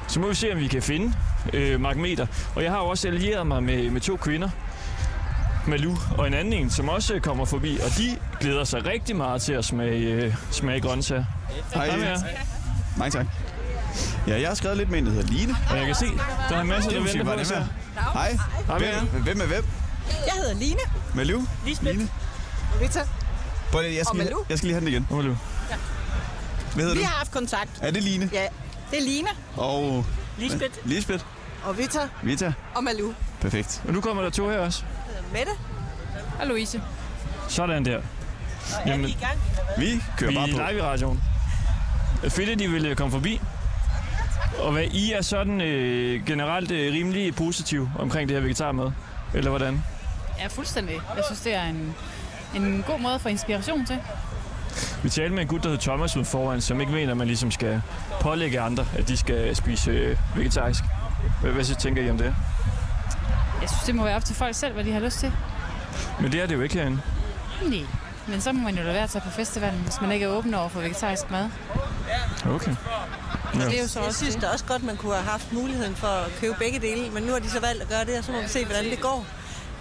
S2: Så må vi se, om vi kan finde øh, Mark Meter. Og jeg har jo også allieret mig med, med to kvinder. Malu og en anden en, som også øh, kommer forbi. Og de glæder sig rigtig meget til at smage, øh, smage grøntsager.
S1: Hej.
S2: Kom her.
S1: Mange tak. Ja, jeg har skrevet lidt med en, der hedder Line.
S2: Og jeg kan se, der er masser,
S1: Det
S2: der
S1: vil sige,
S2: venter
S1: var
S2: på
S1: det
S2: os.
S1: med.
S2: her.
S1: Hej.
S2: Hej, venner.
S1: Hvem, hvem er hvem?
S10: Jeg hedder Line.
S1: Malu?
S10: Lisbeth.
S1: Line.
S10: Rita.
S1: Prøv lige, jeg skal,
S10: Og
S1: lige,
S10: Malou?
S1: jeg skal lige have den igen.
S2: Kom, Malu.
S1: Hvad hedder
S10: Vi
S1: du?
S10: har haft kontakt.
S1: Er det Line?
S10: Ja, det er Line
S1: Og
S10: Lisbeth.
S1: Lisbeth?
S10: og Rita
S1: Vita?
S10: og Malu.
S1: Perfekt.
S2: Og nu kommer der to her også.
S10: Mette.
S3: Og Louise.
S2: Sådan der. Jamen, vi
S10: gang?
S1: Vi kører
S2: er
S1: bare på.
S2: live i radioen. Øh, Fedt, at de ville øh, komme forbi. Og hvad, I er sådan øh, generelt øh, rimelig positiv omkring det her vegetarmad? Eller hvordan?
S3: Ja, fuldstændig. Jeg synes, det er en, en god måde at få inspiration til.
S2: Vi talte med en gut, der hed Thomas ude foran, som ikke mener, at man ligesom skal pålægge andre, at de skal spise øh, vegetarisk. Hvad, hvad så tænker I om det?
S3: Jeg synes, det må være op til folk selv, hvad de har lyst til.
S2: Men det er det jo ikke herinde.
S3: Nej. Men så må man jo lade være at tage på festivalen, hvis man ikke er åben over for vegetarisk mad.
S2: Okay.
S3: Ja. Det er jo så
S10: Jeg
S3: også
S10: synes
S3: det.
S10: da også godt, man kunne have haft muligheden for at købe begge dele, men nu har de så valgt at gøre det, og så må vi se, hvordan det går.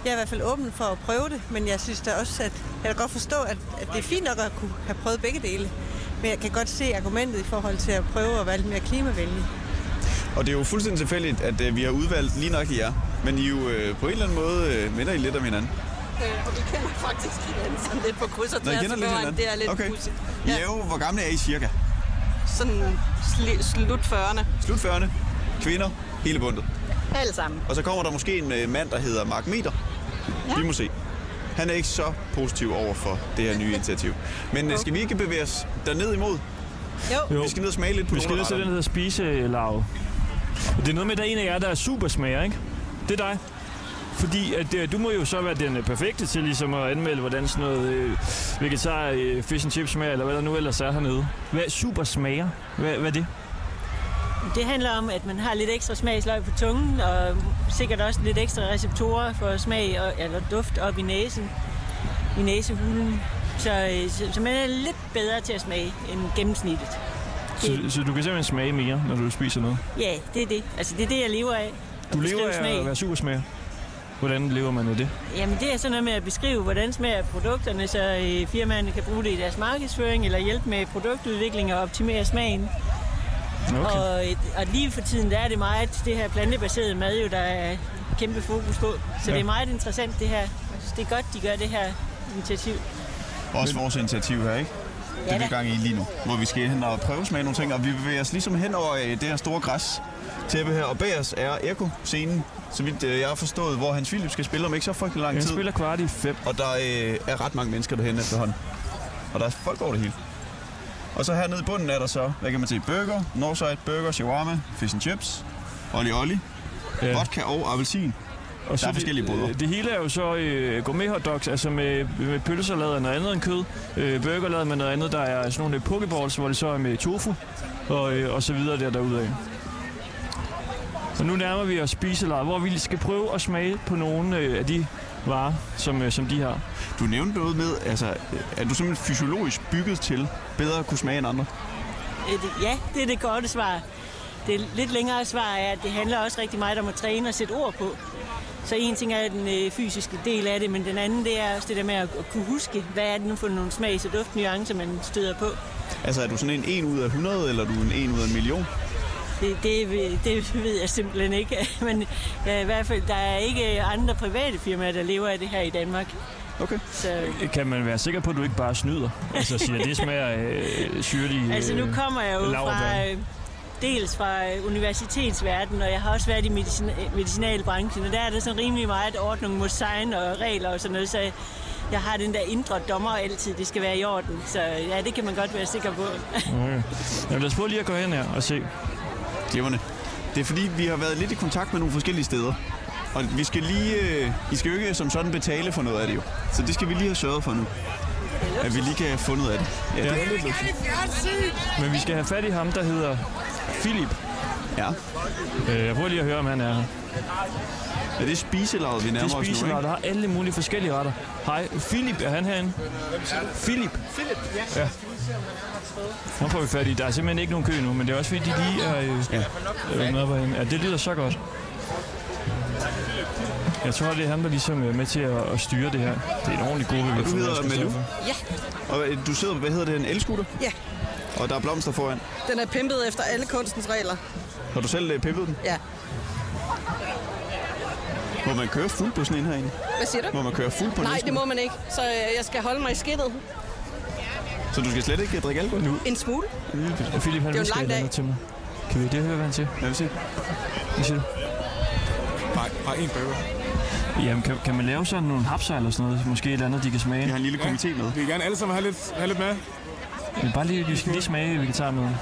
S10: Jeg er i hvert fald åben for at prøve det, men jeg synes da også, at jeg kan godt forstå, at, at det er fint nok at kunne have prøvet begge dele. Men jeg kan godt se argumentet i forhold til at prøve at være lidt mere klimavenlig.
S1: Og det er jo fuldstændig tilfældigt, at øh, vi har udvalgt lige nok jer. Men I er jo øh, på en eller anden måde øh, minder I lidt om hinanden.
S10: Øh, Og vi kender faktisk hinanden sådan lidt på kryds og
S1: Nå, I kender lidt hinanden? Ja. I er jo, hvor gamle er I cirka?
S10: Sådan slut 40'erne.
S1: Slut 40'erne, kvinder, hele bundet.
S10: Alle sammen.
S1: Og så kommer der måske en øh, mand, der hedder Mark Meter. Ja. Vi må se. Han er ikke så positiv over for det her nye initiativ. Men øh, skal vi ikke bevæge os derned imod?
S10: Jo.
S1: Vi skal ned og smage lidt på
S2: Vi skal ned til den, der hedder spiselarve. Og Det er noget med, at der er en af jer, der er supersmager, ikke? Det er dig. fordi at, øh, du må jo så være den øh, perfekte til ligesom at anmelde, hvordan sådan noget øh, vegetar øh, fish and chips smager, eller hvad der nu ellers er hernede. Hvad super smager? Hvad, hvad er det?
S11: Det handler om, at man har lidt ekstra smagsløg på tungen, og sikkert også lidt ekstra receptorer for smag og, eller duft op i næsen, i næsehulen. Så, øh, så, så man er lidt bedre til at smage end gennemsnittet.
S2: Så, så du kan simpelthen smage mere, når du spiser noget?
S11: Ja, det er det. Altså, det er det, jeg lever af. at
S2: Du
S11: beskrive
S2: lever af at være supersmager. Hvordan lever man af det?
S11: Jamen, det er sådan noget med at beskrive, hvordan smager produkterne, så øh, firmaerne kan bruge det i deres markedsføring, eller hjælpe med produktudvikling og optimere smagen.
S2: Okay.
S11: Og, øh, og lige for tiden, der er det meget det her plantebaserede mad, jo, der er kæmpe fokus på. Så
S1: Ja.
S11: ja. det er meget interessant, det her. Jeg synes, det er godt, de gør det her initiativ.
S1: Også vores initiativ her, ikke? Det
S11: Ja
S1: er vi
S11: da.
S1: i gang i lige nu, hvor vi skal hen og prøve smage nogle ting, og vi bevæger os ligesom hen over øh, det her store græs tæppe her, og bag os er Eko-scenen, så vidt øh, jeg har forstået, hvor Hans Philip skal spille om ikke så frygtelig lang
S2: Han
S1: tid.
S2: spiller kvart i fem.
S1: Og der øh, er ret mange mennesker derhen efterhånden. Og der er folk over det hele. Og så hernede i bunden er der så, hvad kan man sige, burger, Northside burger, shawarma, fish and chips, olli olli, ja. vodka og appelsin. Og der er forskellige
S2: det,
S1: boder.
S2: øh, Det hele er jo så øh, gourmet hotdogs, altså med, med pølser lavet af noget andet end kød, øh, burger lavet med noget andet, der er sådan nogle pokeballs, hvor det så er med tofu, og, øh, og så videre der derudad. Og nu nærmer vi os spiselejet, hvor vi skal prøve at smage på nogle øh, af de varer, som, øh, som de har.
S1: Du nævnte noget med, altså, er du simpelthen fysiologisk bygget til bedre at kunne smage end andre?
S11: Øh, det- Ja, det er det korte svar. Det lidt længere svar er, at det handler også rigtig meget om at træne og sætte ord på. Så en ting er den øh, fysiske del af det, men den anden det er også det der med at, at kunne huske, hvad er det nu for nogle smags- og duftnuancer, man støder på.
S1: Altså, er du sådan en 1 ud af 100, eller er du en 1 ud af en million?
S11: Det, det, ved- det ved jeg simpelthen ikke, men ja, i hvert fald, der er ikke andre private firmaer, der lever af det her i Danmark.
S1: Okay.
S11: Så,
S2: Kan man være sikker på, at du ikke bare snyder? Altså siger, det smager øh, syrlig øh,
S11: altså nu kommer jeg jo
S2: laurbær.
S11: fra, øh, dels fra øh, universitetsverdenen, og jeg har også været i medicin- øh, medicinalbranchen, og der er der sådan rimelig meget ordning mod sign og regler og sådan noget, så jeg har den der indre dommer altid, det skal være i orden. Så ja, det kan man godt være sikker på.
S2: Okay. Jamen, lad os prøve lige at gå hen her og se.
S1: Glimrende. Det er fordi, vi har været lidt i kontakt med nogle forskellige steder. Og vi skal lige... Øh, I skal jo ikke som sådan betale for noget af det jo. Så det skal vi lige have sørget for nu. At vi lige kan have fundet af det. Ja, det er lidt luksus.
S2: Men vi skal have fat i ham, der hedder Philip.
S1: Ja.
S2: Øh, jeg prøver lige at høre, om han er her.
S1: Er det spiselaget, vi
S2: Det er
S1: nærmer os nu, ikke?
S2: spiselaget, der har alle mulige forskellige retter. Hej, Philip, er han herinde? Philip.
S12: Philip, ja.
S2: Ja. Nu får vi fat i. Der er simpelthen ikke nogen kø nu, men det er også fordi, de lige er øh, ja. med på hende. Ja, det lyder så godt. Jeg tror, det er ham, der ligesom er med til at, at styre det her. Det er en ordentlig gruppe, vi har
S1: Og du
S2: fået,
S1: hedder
S2: Asger
S1: Malou?
S2: Stoffer.
S10: Ja,
S1: Og øh, du sidder, hvad hedder det, en elskutter?
S10: Ja.
S1: Og der er blomster foran.
S10: den er pimpet efter alle kunstens regler.
S1: Har du selv øh, pimpet den?
S10: Ja.
S1: Må man køre fuld på sådan en herinde?
S12: Hvad siger du?
S1: Må man køre fuld på en
S12: Nej, det
S1: elskutter?
S12: må man ikke. Så øh, jeg skal holde mig i skidtet.
S1: Så du skal slet ikke øh, drikke alkohol? Nu.
S12: En smule.
S2: Og Philip, han
S12: Det er jo en
S2: hvisker
S12: lang
S2: et eller
S12: dag.
S2: andet til mig. Kan vi det høre, hvad han siger?
S1: Lad os se.
S2: Hvad siger du?
S7: Bare, bare en burger.
S2: Jamen, kan, kan man lave sådan nogle hapser eller sådan noget? Måske et eller andet, de kan smage? Vi har
S1: en lille komité med.
S2: Vi vil gerne alle sammen have lidt, have lidt med. Men bare lige, vi skal lige smage vegetarmaden.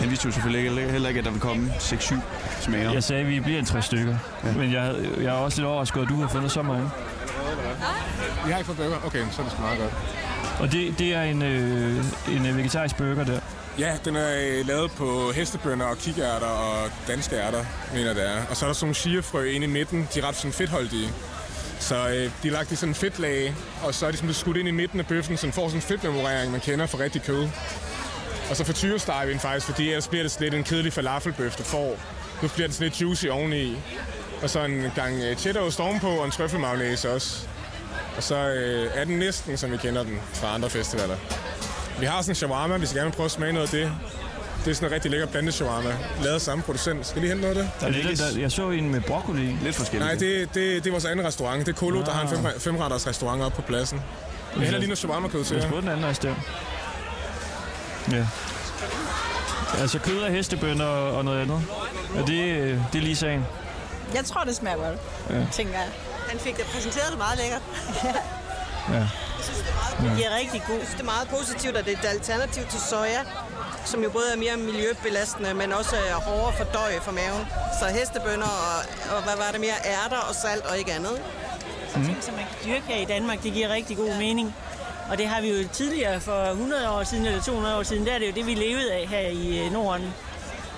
S1: Han vidste jo selvfølgelig ikke, heller ikke, at der ville komme 6-7 smager.
S2: Jeg sagde, at vi bliver en tre stykker. Ja. Men jeg, havde- jeg er også lidt overrasket, at du har fundet så mange.
S13: Vi har ikke fået burger. Okay, så er det sgu meget godt.
S2: Og det, det er en, øh, en øh, vegetarisk burger der.
S13: Ja, den er øh, lavet på hestebønder og kikærter og danske ærter, mener jeg, det er. Og så er der sådan nogle chiafrø inde i midten. De er ret sådan fedtholdige. Så øh, de er lagt i sådan en fedtlag, og så er de sådan blevet skudt ind i midten af bøffen, så den får sådan en fedtmemorering, man kender fra rigtig kød. Og så frityrestegede vi den faktisk, fordi ellers bliver det sådan lidt en kedelig falafelbøf, der får. Nu bliver den sådan lidt juicy oveni. Og så en gang øh, cheddarost ovenpå og en trøffelmagnæse også. Og så øh, er den næsten, som vi kender den fra andre festivaler. Vi har sådan en shawarma, vi skal gerne prøve at smage noget af det. Det er sådan en rigtig lækker blandet shawarma, lavet af samme producent. Skal vi lige hente noget af det?
S2: Der er lidt, der, jeg så en med broccoli.
S1: Lidt
S13: Nej, det, det, det er vores anden restaurant. Det er Kolo, der har en
S2: Ah.
S13: fem, femretters restaurant oppe på pladsen. Jeg hælder lige noget shawarma-kød til
S2: Jeg
S13: jer.
S2: spurgte den anden også der. Ja. Altså kød af hestebønder og og noget andet. Og det, øh, det er lige sagen.
S10: Jeg tror, det smager godt,
S2: Ja.
S10: tænker jeg. Han fik da præsenteret det meget lækkert.
S2: Ja.
S10: Jeg synes, det er meget,
S2: Ja.
S10: rigtig god. Jeg synes, det er meget positivt, at det er et alternativ til soja. som jo både er mere miljøbelastende, men også er hårdere for døje for maven. Så hestebønder og, og hvad var det mere, ærter og salt og ikke andet.
S11: Mm. Ting, som man kan dyrke her i Danmark, det giver rigtig god mening. Og det har vi jo tidligere, for 100 år siden eller 200 år siden, der er det jo det, vi levede af her i øh, Norden.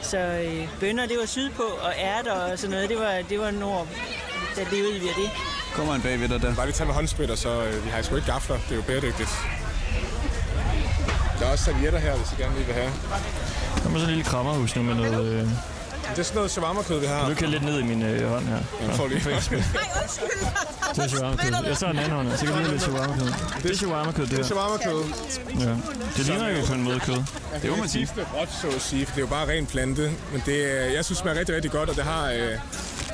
S11: Så øh, bønder, det var sydpå, og ærter og sådan noget, det var, det var nord, der levede vi af det.
S1: Kommer en bagved dig der.
S13: Bare vi tager med håndsprit, og så øh, vi har sgu ikke gafler. Det er jo bæredygtigt. Der er også servietter her, hvis I gerne lige vil have.
S2: Der er sådan en lille krammerhus nu med noget... Øh...
S13: Det er sådan noget shawarma-kød, vi har.
S2: Kan du kan lidt ned i min øh, hånd her?
S13: Jeg får lige
S2: Fængsel. Det er shawarma-kød. Jeg tager den anden hånd, her, så kan det lige lidt shawarma-kød. Det er shawarma-kød, det
S13: Det
S2: her.
S13: er shawarma-kød.
S2: Ja. Det ligner jo på en måde kød. Det må man sige.
S13: Det er så at sige, for det er jo bare ren plante. Men det, øh, jeg synes, det smager rigtig, rigtig godt, og det har... Åh, øh...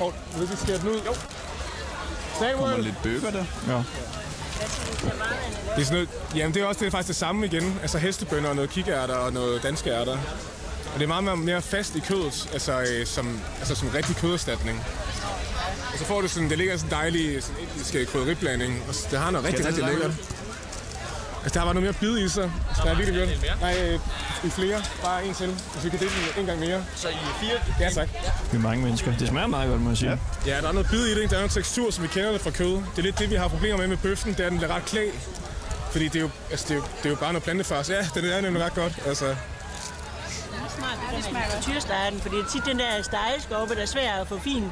S13: oh, vil du skære den ud? Jo.
S1: Kommer lidt bøger der.
S2: Ja.
S13: Det er sådan noget, jamen det er også det er faktisk det samme igen. Altså hestebønder og noget kikærter og noget danske ærter. Og det er meget mere, mere fast i kødet, altså, øh, som, altså som rigtig køderstatning. Og så får du sådan, det ligger sådan en dejlig sådan indisk øh, krydderiblanding, og s- det har noget
S1: Skal
S13: rigtig, rigtig
S1: jeg tage
S13: lækkert.
S1: lidt
S13: Altså, der var noget mere bid i sig. Så der er virkelig godt. Nej, øh, i flere. Bare en til. Hvis vi kan dele den en gang mere. Så i fire? Ja, tak.
S2: Vi er mange mennesker. Det smager meget godt, må jeg sige.
S13: Ja, der er noget bid i det. Der er noget tekstur, som vi kender det fra kød. Det er lidt det, vi har problemer med med bøffen. Det er, at den bliver ret klæ. Fordi det er, jo, altså, det, er jo, det er jo bare noget plantefars. Ja, den er nemlig ret godt. Altså,
S11: Det smager godt. Tyrsteger den, fordi det er tit den der stegeskorpe, der er svær at få fin.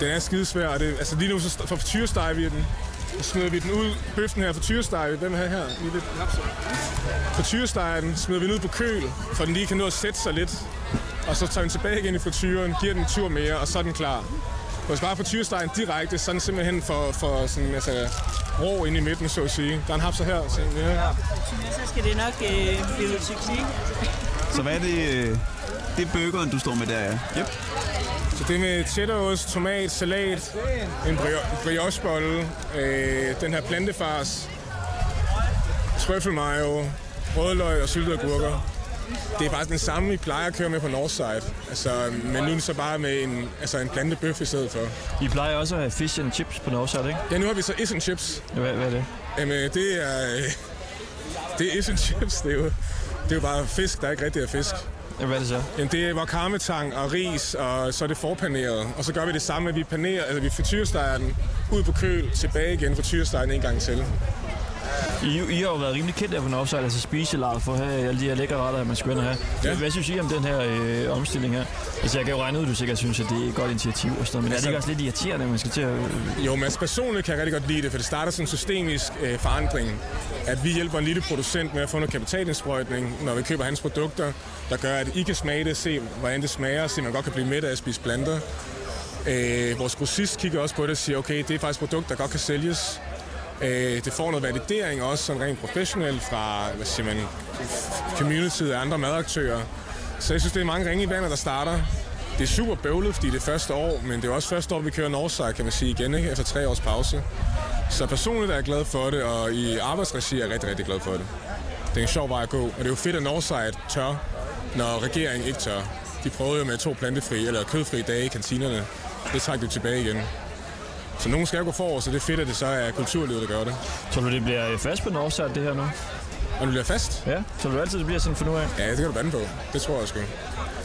S13: den er skidesvær. Og det, altså, lige nu så st- for tyresteger vi den. Så smider vi den ud. Bøffen her for tyresteger vi. Hvem er her? Lige lidt. For tyresteger den smider vi den ud på køl, for den lige kan nå at sætte sig lidt. Og så tager vi den tilbage igen i frityren, giver den en tur mere, og så er den klar. Hvis bare på tyrestegen direkte, så er den simpelthen for, for sådan, altså, rå ind i midten, så at sige. Der er en hapser her. Så, ja.
S11: Så skal det nok øh, blive et succes.
S1: Så hvad er det... øh, Det er bøgeren, du står med der, ja. Yep.
S13: Så det er med cheddarost, tomat, salat, en brio- briochebolle, øh, den her plantefars, trøffelmayo, rødløg og syltede agurker. Det er faktisk den samme, vi plejer at køre med på Northside. Altså, men nu er det så bare med en, altså en plantebøf i stedet for.
S2: I plejer også at have fish and chips på Northside, ikke?
S13: Ja, nu har vi så Issen Chips.
S2: Hvad, hvad er det?
S13: Jamen, det er, øh, det er Issen Chips. Det er, jo, det er jo bare fisk, der ikke rigtig er fisk.
S2: Ja, hvad er det så?
S13: Jamen, det er wakametang og ris, og så er det forpaneret. Og så gør vi det samme, at vi panerer, altså vi frityrsteger den ud på køl, tilbage igen frityrsteger den en gang til.
S2: I, I har jo været rimelig kendt af på Northside, altså spiselaget for at have alle de her lækre retter, man skal ind og have. Ja. Hvad synes I om den her øh, omstilling her? Altså, jeg kan jo regne ud, at du sikkert synes, at det er et godt initiativ og sådan noget, men altså, er det
S13: Altså-
S2: ikke også lidt irriterende, at man skal til at...
S13: Jo, men altså personligt kan jeg rigtig godt lide det, for det starter sådan en systemisk øh, forandring. At vi hjælper en lille producent med at få noget kapitalindsprøjtning, når vi køber hans produkter, der gør, at I kan smage det, se hvordan det smager, se man godt kan blive mæt af at spise planter. Øh, vores grossist kigger også på det og siger, okay, det er faktisk et produkt, der godt kan sælges. Øh, det får noget validering også sådan rent professionelt fra, hvad siger man, community og andre madaktører. Så jeg synes, det er mange ringe i vandet, der starter. Det er super bøvlet, fordi det er første år, men det er også første år, vi kører Northside, kan man sige igen, ikke? efter tre års pause. Så personligt er jeg glad for det, og i arbejdsregi er jeg rigtig, rigtig glad for det. Det er en sjov vej at gå, og det er jo fedt, at Northside tør, når regeringen ikke tør. De prøvede jo med to plantefri eller kødfri dage i kantinerne. Det trak de tilbage igen. Så nogen skal jo gå forrest, og det er fedt, at det så er kulturlivet, der gør det.
S2: Tror du, det bliver øh, fast på Northside, det her nu?
S13: Og du bliver fast?
S2: Ja, så du altid det bliver sådan for nu af?
S13: Ja, det kan du bande på. Det tror jeg sgu.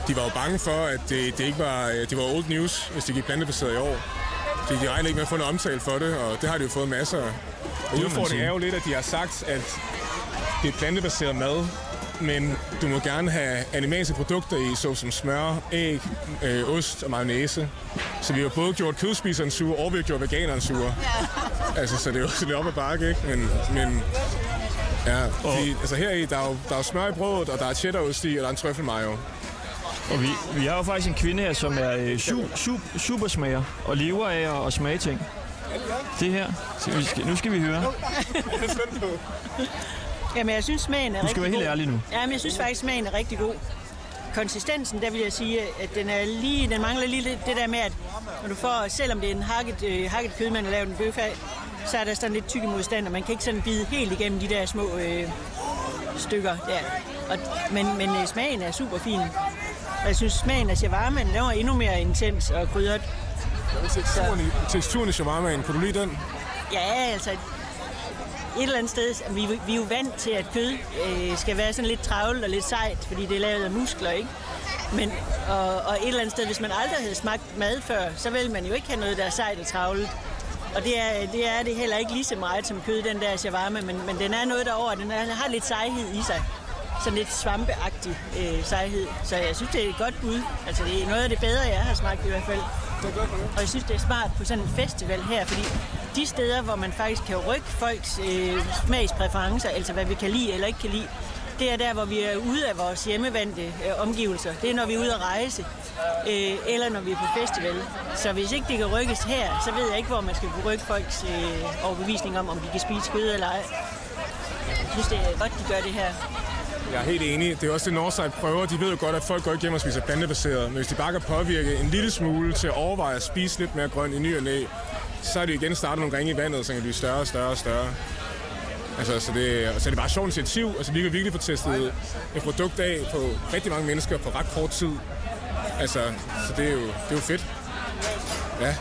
S13: De var jo bange for, at det, det ikke var, øh, det var old news, hvis det gik plantebaseret i år. De, de regnede ikke med at få noget omtale for det, og det har de jo fået masser af. Og
S2: man sige.
S13: udfordringen er jo lidt, at de har sagt, at det er plantebaseret mad, men du må gerne have animalske produkter i, såsom smør, æg, øh, ost og mayonnaise. Så vi har både gjort kødspiseren sure, og vi har gjort veganeren sure. Altså, så det er jo lidt op ad bakke, ikke? Men, men ja, fordi, altså her i, der er, jo, der er jo smør i brødet, og der er cheddarost i, og der er en trøffelmayo.
S2: Og vi, vi har jo faktisk en kvinde her, som er øh, su, su, supersmager og lever af at, at smage ting. Det her. Så vi skal, nu skal vi høre.
S11: Jamen, jeg synes, smagen er
S2: Du
S11: rigtig
S2: skal være helt
S11: god.
S2: ærlig nu.
S11: Jamen, jeg synes faktisk, smagen er rigtig god. Konsistensen, der vil jeg sige, at den, er lige, den mangler lige lidt det der med, at når du får, selvom det er en hakket, øh, hakket kød, man har lavet en bøf af, så er der sådan lidt tykke modstand, og man kan ikke sådan bide helt igennem de der små øh, stykker der. Og, men men øh, smagen er super fin. Og jeg synes, smagen af shawarma, den var endnu mere intens og krydret.
S13: Teksturen i shawarmaen, kunne du lide den?
S11: Ja, altså, et eller andet sted, vi, vi er jo vant til, at kød øh, skal være sådan lidt travlt og lidt sejt, fordi det er lavet af muskler, ikke? Men, og, og et eller andet sted, hvis man aldrig havde smagt mad før, så ville man jo ikke have noget, der er sejt og travlt. Og det er, det er det heller ikke lige så meget som kød, den der shawarma, men, men den er noget derover, den er, har lidt sejhed i sig. Sådan lidt svampeagtig øh, sejhed. Så jeg synes, det er et godt bud. Altså, det er noget af det bedre, jeg har smagt i hvert fald. Og jeg synes, det er smart på sådan en festival her, fordi de steder, hvor man faktisk kan rykke folks øh, smagspræferencer, altså hvad vi kan lide eller ikke kan lide, det er der, hvor vi er ude af vores hjemmevandte øh, omgivelser. Det er, når vi er ude at rejse, øh, eller når vi er på festival. Så hvis ikke det kan rykkes her, så ved jeg ikke, hvor man skal kunne rykke folks øh, overbevisning om, om de kan spise kød eller ej. Jeg synes, det er godt, de gør det her.
S13: Jeg er helt enig. Det er også det, Northside prøver. De ved jo godt, at folk går ikke hjem og spiser plantebaseret. Men hvis de bare kan påvirke en lille smule til at overveje at spise lidt mere grønt i ny og næ, så er det igen startet nogle ringe i vandet, så kan det blive større og større og større. Altså, så det, og så er det bare et sjovt initiativ. Altså, vi kan virkelig få testet et produkt af på rigtig mange mennesker på ret kort tid. Altså, så det er jo, det er jo fedt. Ja.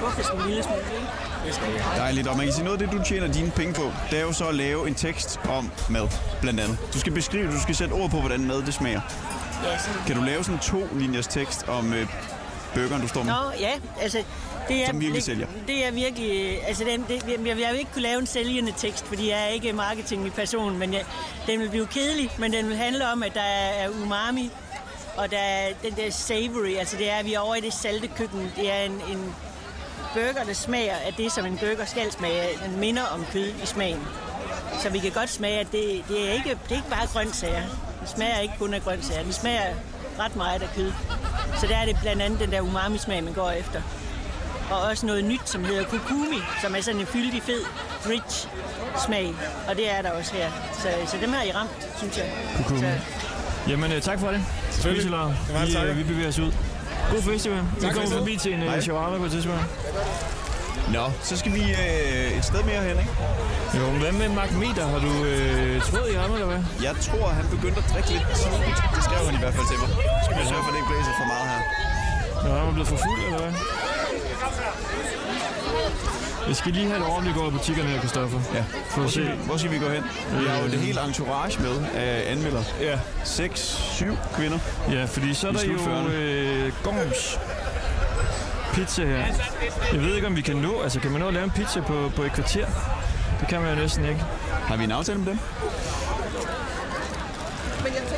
S11: Hvorfor sådan en lille smule? ikke?
S1: Dejligt, og man kan sige, noget af det, du tjener dine penge på, det er jo så at lave en tekst om mad, blandt andet. Du skal beskrive, du skal sætte ord på, hvordan mad det smager.
S11: Ja, sådan-
S1: Kan du lave sådan to linjers tekst om øh, burgeren, du står med?
S11: Nå, ja, altså... Det er,
S1: Som virkelig sælger.
S11: Det er virkelig... øh, Altså, den, det, jeg, jeg vil ikke kunne lave en sælgende tekst, fordi jeg er ikke marketingperson, men jeg, den vil blive kedelig, men den vil handle om, at der er umami, og der er den der savory, altså det er, at vi er over i det salte køkken. Det er en, en burger, der smager af det, som en burger skal smage af. Den minder om kød i smagen. Så vi kan godt smage, at det, det, er, ikke, det er ikke bare grøntsager. Det smager ikke kun af grøntsager. Det smager ret meget af kød. Så der er det blandt andet den der umami-smag, man går efter. Og også noget nyt, som hedder kukumi, som er sådan en fyldig, fed, rich smag. Og det er der også her. Så, så dem har I ramt, synes jeg.
S2: Kukum.
S11: Så,
S2: Jamen, øh, tak for det.
S13: Selvfølgelig.
S2: Spiselar.
S13: Det var en
S2: Vi,
S13: tak.
S2: øh, vi bevæger os ud. God festival. Vi
S1: Tak,
S2: kommer
S1: Christian.
S2: forbi til en
S1: Hej.
S2: øh, shawarma på et tidspunkt.
S1: Nå, så skal vi øh, et sted mere hen, ikke?
S2: Jo, men hvad med Mark Meter? Har du øh, tråd i ham, eller hvad?
S1: Jeg tror, han begyndte at drikke lidt tidligt. Det skrev han i hvert fald til mig. Så Skal vi sørge for, at det ikke blæser for meget her.
S2: Nå, han er blevet for fuld, eller hvad? Jeg skal lige have et overblik over butikkerne her, Kristoffer. Ja. For
S1: Hvor
S2: at se.
S1: skal, vi, hvor skal vi gå hen? Vi har jo det hele entourage med af anmeldere.
S2: Ja.
S1: 6, 7 kvinder.
S2: Ja, fordi så er
S1: Vi
S2: der jo
S1: slutførende.
S2: øh, Gorms pizza her. Jeg ved ikke, om vi kan nå. Altså, kan man nå at lave en pizza på, på et kvarter? Det kan man jo næsten ikke.
S1: Har vi en aftale med dem?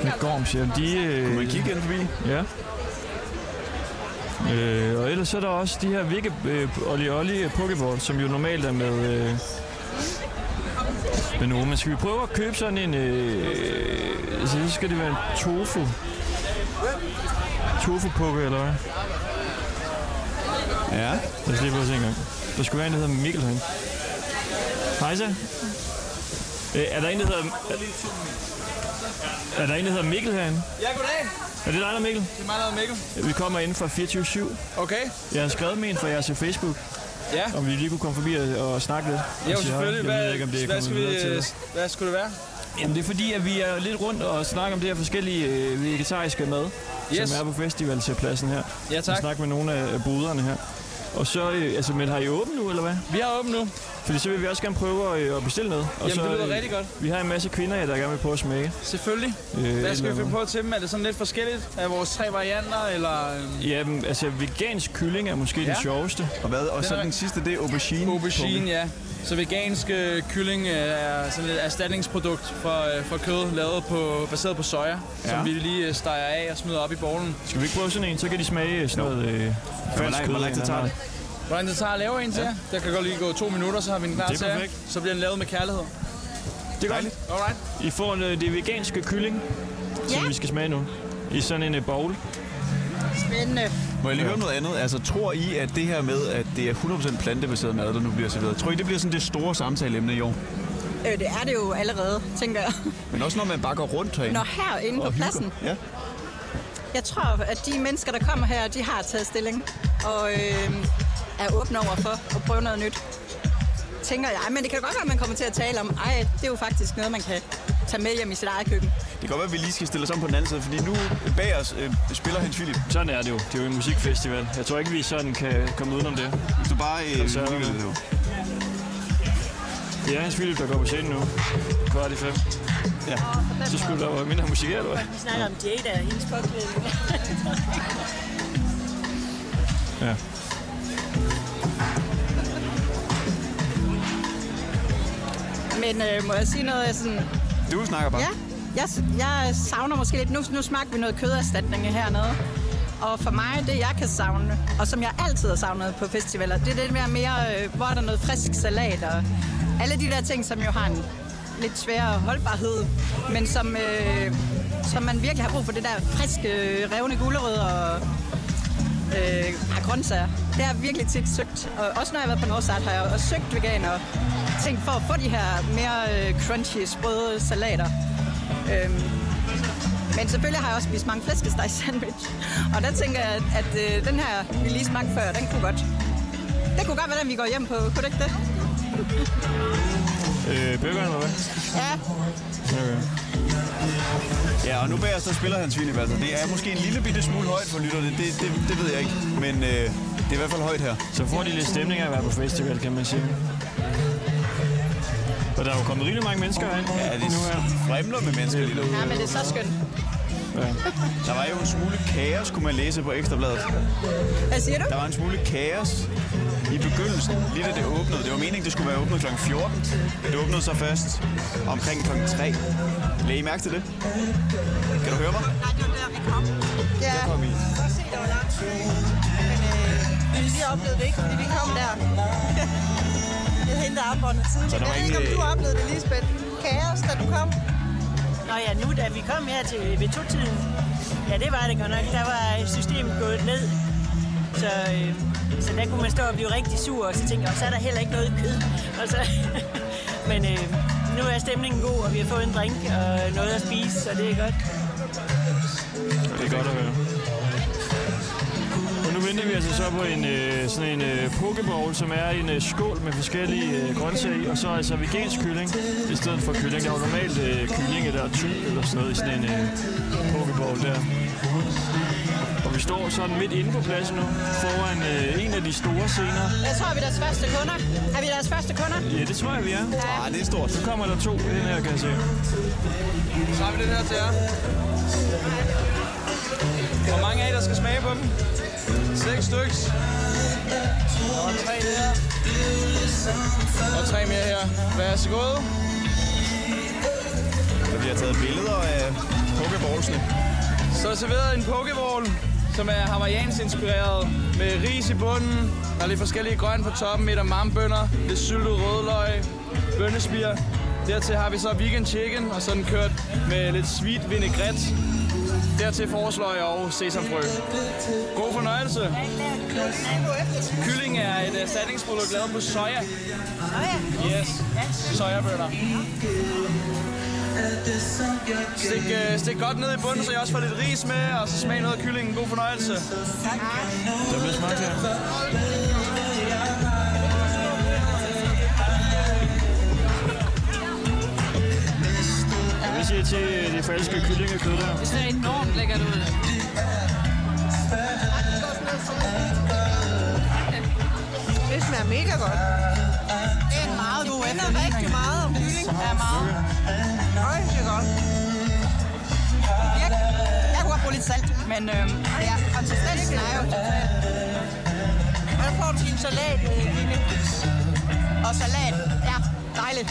S2: Med Gorms, ja. De, øh, Kunne
S1: man kigge ind forbi?
S2: Ja. Øh, og ellers så er der også de her Vigge øh, Olli Olli øh, Pokeball, som jo normalt er med... Øh, med nogen. Men skal vi prøve at købe sådan en... Øh, så skal det være en tofu. Tofu poke eller hvad?
S1: Ja.
S2: Lad os lige prøve at se en gang. Der skulle være en, der hedder Mikkel herinde. Hej så. Øh, er der en, der hedder... Er der en, der hedder Mikkel herinde?
S14: Ja, goddag.
S2: Er det dig, der er Mikkel?
S14: Det er mig, der hedder Mikkel.
S2: Vi kommer ind fra 24-7.
S14: Okay.
S2: Jeg har skrevet med en fra jeres Facebook.
S14: Ja.
S2: Om vi lige kunne komme forbi og, og snakke lidt.
S14: Jo,
S2: Og sige hej.
S14: selvfølgelig.
S2: Jeg
S14: Hvad,
S2: ved ikke, om det er
S14: hvad, skal vi,
S2: kommet videre til.
S14: øh,
S2: dig.
S14: hvad skulle det være?
S2: Jamen, det er fordi, at vi er lidt rundt og snakker om det her forskellige øh, vegetariske mad,
S14: Yes.
S2: som er på festivalpladsen her.
S14: Ja, tak.
S2: Vi snakker med nogle af, af boderne her. Og så, øh, altså, men har I åbent nu, eller hvad?
S14: Vi har åbent nu.
S2: Fordi så vil vi også gerne prøve at, øh, at bestille noget. Og
S14: Jamen,
S2: så, øh,
S14: det lyder rigtig godt.
S2: Vi har en masse kvinder her, der gerne vil prøve at smage.
S14: Selvfølgelig.
S2: Øh,
S14: Hvad skal vi
S2: eller-
S14: finde på til dem? Er det sådan lidt forskelligt? Er vores tre varianter, eller... øhm,
S2: Jamen, altså, vegansk kylling er måske ja.
S14: Ja.
S2: det sjoveste.
S1: Og hvad?
S14: Den så er- den
S1: sidste, det er aubergine.
S14: Aubergine, ja. Så vegansk øh, kylling øh, er sådan et erstatningsprodukt fra, øh, fra kød, lavet på, baseret på soja, ja.
S2: Ja.
S14: som vi lige øh, steger af og smider op i bowlen.
S2: Skal vi ikke prøve sådan en? Så kan de smage øh, sådan noget øh, falsk
S14: lang-
S2: kød.
S14: hvor lang tid
S2: eller
S14: tager
S2: noget.
S14: Hvor lang det tager at lave en til ja. Der kan godt lige gå to minutter, så har vi en klar
S2: Det er
S14: til jer.
S2: perfekt.
S14: Så bliver den lavet med kærlighed.
S2: Det er godt.
S14: Alright.
S2: I får en, øh, det veganske kylling, som vi skal smage nu. I sådan en øh, bowl.
S11: Spændende.
S1: Må jeg lige høre om noget andet? Altså, tror I, at det her med, at det er 100% plantebaseret mad, der nu bliver serveret, tror I, det bliver sådan det store samtaleemne i år?
S10: Øh, det er det jo allerede, tænker jeg.
S1: Men også når man bare går rundt herinde.
S10: Nå, herinde på
S1: og hygger.
S10: pladsen.
S1: Ja.
S10: Jeg tror, at de mennesker, der kommer her, de har taget stilling og øh, er åbne over for at prøve noget nyt. Tænker jeg, men det kan da godt være, at man kommer til at tale om, ej, det er jo faktisk noget, man kan tage med hjem i sit eget køkken.
S1: Det kan godt være, at vi lige skal stille os om på den anden side, fordi nu bag os øh, spiller Hans Philip.
S2: Sådan er det jo. Det er jo en musikfestival. Jeg tror ikke, vi sådan kan komme udenom det.
S1: Hvis du bare... Øh,
S2: så,
S1: det jo.
S2: Det er Hans Philip, der går på scenen nu. Kvart i fem. Ja. Så skulle der være mindre musik, eller hvad?
S11: Vi snakker om Jada og hendes påklædning.
S2: Ja.
S10: Men øh, må jeg sige noget? Jeg Sådan,
S1: Du snakker bare.
S10: Ja, jeg, jeg savner måske lidt. Nu, nu smagte vi noget køderstatning hernede. Og for mig, det jeg kan savne, og som jeg altid har savnet på festivaler, det er det der mere, øh, hvor er der noget frisk salat og alle de der ting, som jo har en lidt sværere holdbarhed, men som, øh, som man virkelig har brug for det der friske, øh, revne gulerødder og øh, har grøntsager. Det har jeg virkelig tit søgt. Og også når jeg har været på Nordsat, har jeg også søgt veganer. Tænkt for at få de her mere øh, crunchy, sprøde salater. Øhm, men selvfølgelig har jeg også spist mange flæskesteg sandwich. Og der tænker jeg, at, at øh, den her, vi lige smagte før, den kunne godt. Det kunne godt være, den vi går hjem på. Kunne det ikke det?
S2: Øh, bøgerne, eller hvad?
S10: Ja.
S2: Okay.
S1: Ja, og nu bag os, der spiller Hans Wienerwasser. Det er måske en lille bitte smule højt for lytterne, det, det, det ved jeg ikke. Men øh, det er i hvert fald højt her.
S2: Så får de lidt stemning af at være på festival, kan man sige. Og der er jo kommet rigtig mange mennesker herind.
S1: Ja, det fremler med mennesker lige derude.
S10: Ja, men det er så skønt.
S2: Ja.
S1: Der var jo en smule kaos, kunne man læse på Ekstrabladet.
S10: Hvad siger du?
S1: Der var en smule kaos i begyndelsen, lige da det åbnede. Det var meningen, det skulle være åbnet kl. 14. Det åbnede så først omkring kl. 3. Læg I mærke til det? Kan du høre mig?
S15: Nej, det var der, vi kom. Ja. Der
S1: kom I.
S15: Jeg kan se, der var langt. Men øh, vi oplevede det ikke, fordi vi kom der. Jeg havde hentet armbåndet tidligt.
S1: Så der var
S15: Jeg ved ikke, om
S1: ingen,
S15: du
S1: øh,
S15: oplevede det, Lisbeth. Kaos, da du kom.
S11: Nå ja, nu da vi kom her til ved to-tiden, ja det var det godt nok, der var øh, systemet gået ned. Så, øh, så der kunne man stå og blive rigtig sur, og så tænkte jeg, "Og så er der heller ikke noget kød. Og så, men øh, nu er stemningen god, og vi har fået en drink og noget at spise, så det er godt.
S2: Det er godt at høre. Og nu venter vi altså så på en øh, sådan en øh, pokeball, som er en øh, skål med forskellige øh, grøntsager i, og så altså vegansk kylling i stedet for kylling. Der er jo normalt øh, kylling eller tyl eller sådan noget i sådan en øh, pokeball der. Og vi står sådan midt inde på pladsen nu, foran øh, en af de store scener.
S10: Jeg tror, vi er deres første kunder. Er vi deres første kunder?
S2: Ja, det tror jeg, vi er.
S1: Ah, det er stort.
S2: Nu kommer der to i den her, kan jeg se.
S9: Så har vi den her til jer. Hvor mange af jer, der skal smage på dem? Seks styks. Der var tre der. Og tre mere her. Vær så god.
S1: Der bliver taget billeder af pokeballsene.
S9: Så er serveret en pokeball, som er hawaiians inspireret med ris i bunden. Der er lidt forskellige grøn på toppen, et af marmbønder, lidt syltet rødløg, bønnespir. Dertil har vi så vegan chicken, og sådan kørt med lidt sweet vinaigrette. Dertil forsløg og sesamfrø. God fornøjelse. Kylling er et øh, erstatningsprodukt lavet på soja. Soja? Yes. Sojabønner. Stik, øh, stik godt ned i bunden, så jeg også får lidt ris med, og så smag noget af kyllingen. God fornøjelse. Tak.
S2: Der bliver smagt her. Hvad siger I til øh, det falske kyllingekød der?
S3: Det ser enormt lækkert ud.
S15: Det smager mega godt.
S10: Det er en meget god
S15: minder rigtig meget om kylling. Ja, meget. Øj, det er godt.
S10: Virkelig. Jeg kunne godt bruge lidt salt, men øh, ja, konsistensen er jo total.
S15: Her får du din salat, øh, Line.
S10: Og salat. Ja, dejligt.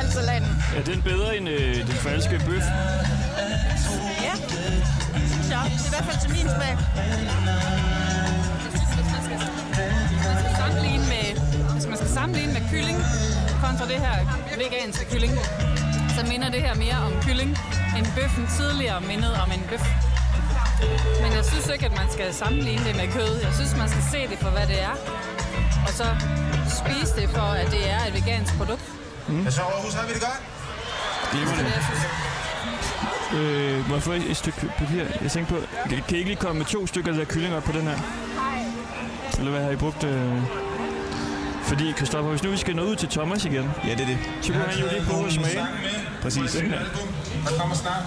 S10: Alt salaten.
S2: Er den bedre end øh, den falske bøf?
S15: Ja, det synes jeg. Det er i hvert fald til min smag.
S3: Sammenligne med, hvis man skal sammenligne med kylling kontra det her veganske kylling, så minder det her mere om kylling, end bøffen tidligere mindede om en bøf. Men jeg synes ikke, at man skal sammenligne det med kød. Jeg synes, man skal se det for, hvad det er. Og så spise det for, at det er et vegansk produkt.
S2: Mm.
S13: Jeg så Aarhus, har vi det godt?
S2: Glimrende. Øh, må jeg få et, et stykke papir? Jeg tænkte på, kan, kan I ikke lige komme med to stykker af det der kylling op på den her? Eller hvad har I brugt? Øh... Fordi, Kristoffer, hvis nu vi skal nå ud til Thomas igen,
S1: ja, det er det.
S2: så kunne han jo lige prøve at smage.
S1: Præcis.
S2: Den her.
S13: Der kommer snart.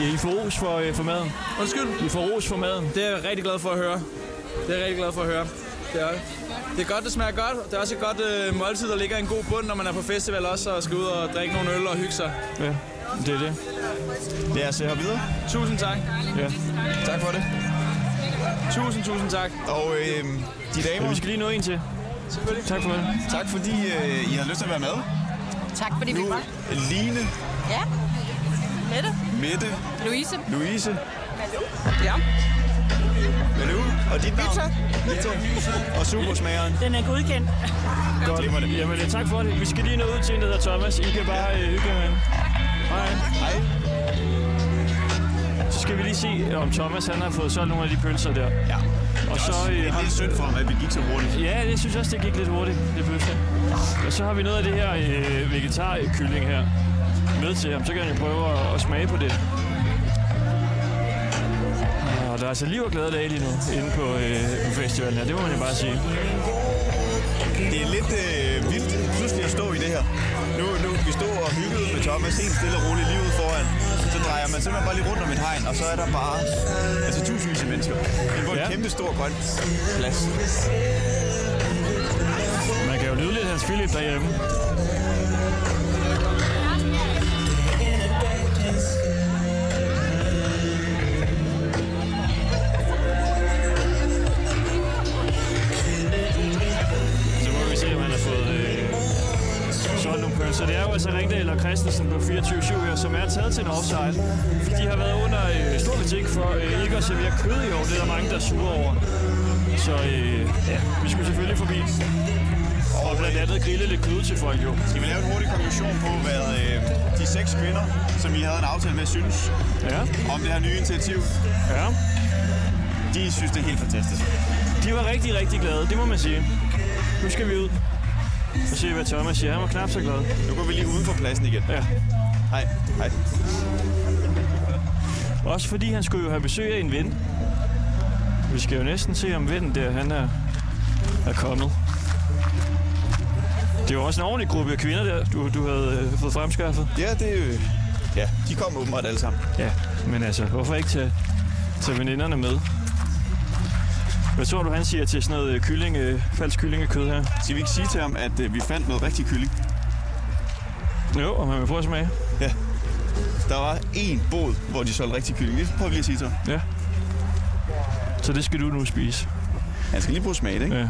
S2: Ja, I får ros for, øh, for maden.
S9: Undskyld.
S2: I får ros for maden.
S9: Det er jeg rigtig glad for at høre. Det er jeg rigtig glad for at høre. Det er jeg. Det er godt, det smager godt. Det er også et godt øh, måltid, der ligger i en god bund, når man er på festival også, og skal ud og drikke nogle øl og hygge sig.
S2: Ja, det er det. Lad os øh, hoppe videre.
S9: Tusind tak.
S2: Ja.
S1: Tak for det.
S9: Tusind, tusind tak.
S1: Og øh, de damer...
S2: Ja, vi skal lige nå en til.
S9: Selvfølgelig.
S2: Tak for det.
S1: Tak fordi øh, I har lyst til at være med.
S3: Tak fordi vi var.
S1: Line,
S3: Ja. Mette.
S1: Mette,
S3: Louise.
S1: Louise,
S3: Ja.
S1: Malou og dit navn. Victor. Og supersmageren.
S11: Den er godkendt.
S2: Godt. Jamen, øh, tak for det. Vi skal lige nå ud til en, der hedder Thomas. I kan bare øh, hygge jer med ham. Hej. Hej. Så skal vi lige se, om Thomas han har fået solgt nogle af de pølser der. Ja. Og så, øh,
S1: Det er lidt synd for ham, at vi gik så hurtigt.
S2: Ja, det synes jeg også, det gik lidt hurtigt, det bøfte. Og så har vi noget af det her øh, vegetarkylling her med til ham. Så kan han jo prøve at, at smage på det. Og der er altså liv og glade dage lige nu inde på, øh, på festivalen her. Det må man jo bare sige.
S1: Det er lidt øh, vildt pludselig at stå i det her. Nu, nu vi stod og hyggede med Thomas helt stille og roligt lige ude foran. Så drejer man simpelthen bare lige rundt om et hegn, og så er der bare altså, tusindvis af mennesker. Det var en ja. kæmpe stor grøn plads.
S2: Man kan jo lyde lidt Hans Philip derhjemme. Så må vi se, om han har fået øh, solgt nogle pølser. Det er jo altså Ringdal og Christensen på 24-7 her, som er taget til en offside. For de har været under øh, stor kritik for øh, ikke at servere kød i år. Det er der mange, der er sure over. Så øh, ja, vi skulle selvfølgelig forbi. Og blandt andet grille lidt kød til folk jo.
S1: Skal vi lave en hurtig konklusion på, hvad øh, de seks kvinder, som I havde en aftale med, synes
S2: ja.
S1: om det her nye initiativ?
S2: Ja.
S1: De synes, det er helt fantastisk.
S2: De var rigtig, rigtig glade, det må man sige. Nu skal vi ud og se, hvad Thomas siger. Han var knap så glad.
S1: Nu går vi lige uden for pladsen igen.
S2: Ja.
S1: Hej. Hej.
S2: Også fordi han skulle jo have besøg af en ven. Vi skal jo næsten se, om vennen der, han er, er kommet. Det var også en ordentlig gruppe af kvinder der, du, du havde øh, fået fremskaffet.
S1: Ja, det øh, Ja, de kom åbenbart alle sammen.
S2: Ja, men altså, hvorfor ikke tage, tage veninderne med? Hvad tror du, han siger til sådan noget øh, kylling, øh, falsk kyllingekød her?
S1: Skal vi ikke sige til ham, at øh, vi fandt noget rigtig kylling?
S2: Jo, og man vil prøve at smage.
S1: Ja. Der var én båd, hvor de solgte rigtig kylling. Det prøver vi lige at sige til ham.
S2: Ja. Så det skal du nu spise.
S1: Han skal lige bruge smag, ikke?
S2: Ja.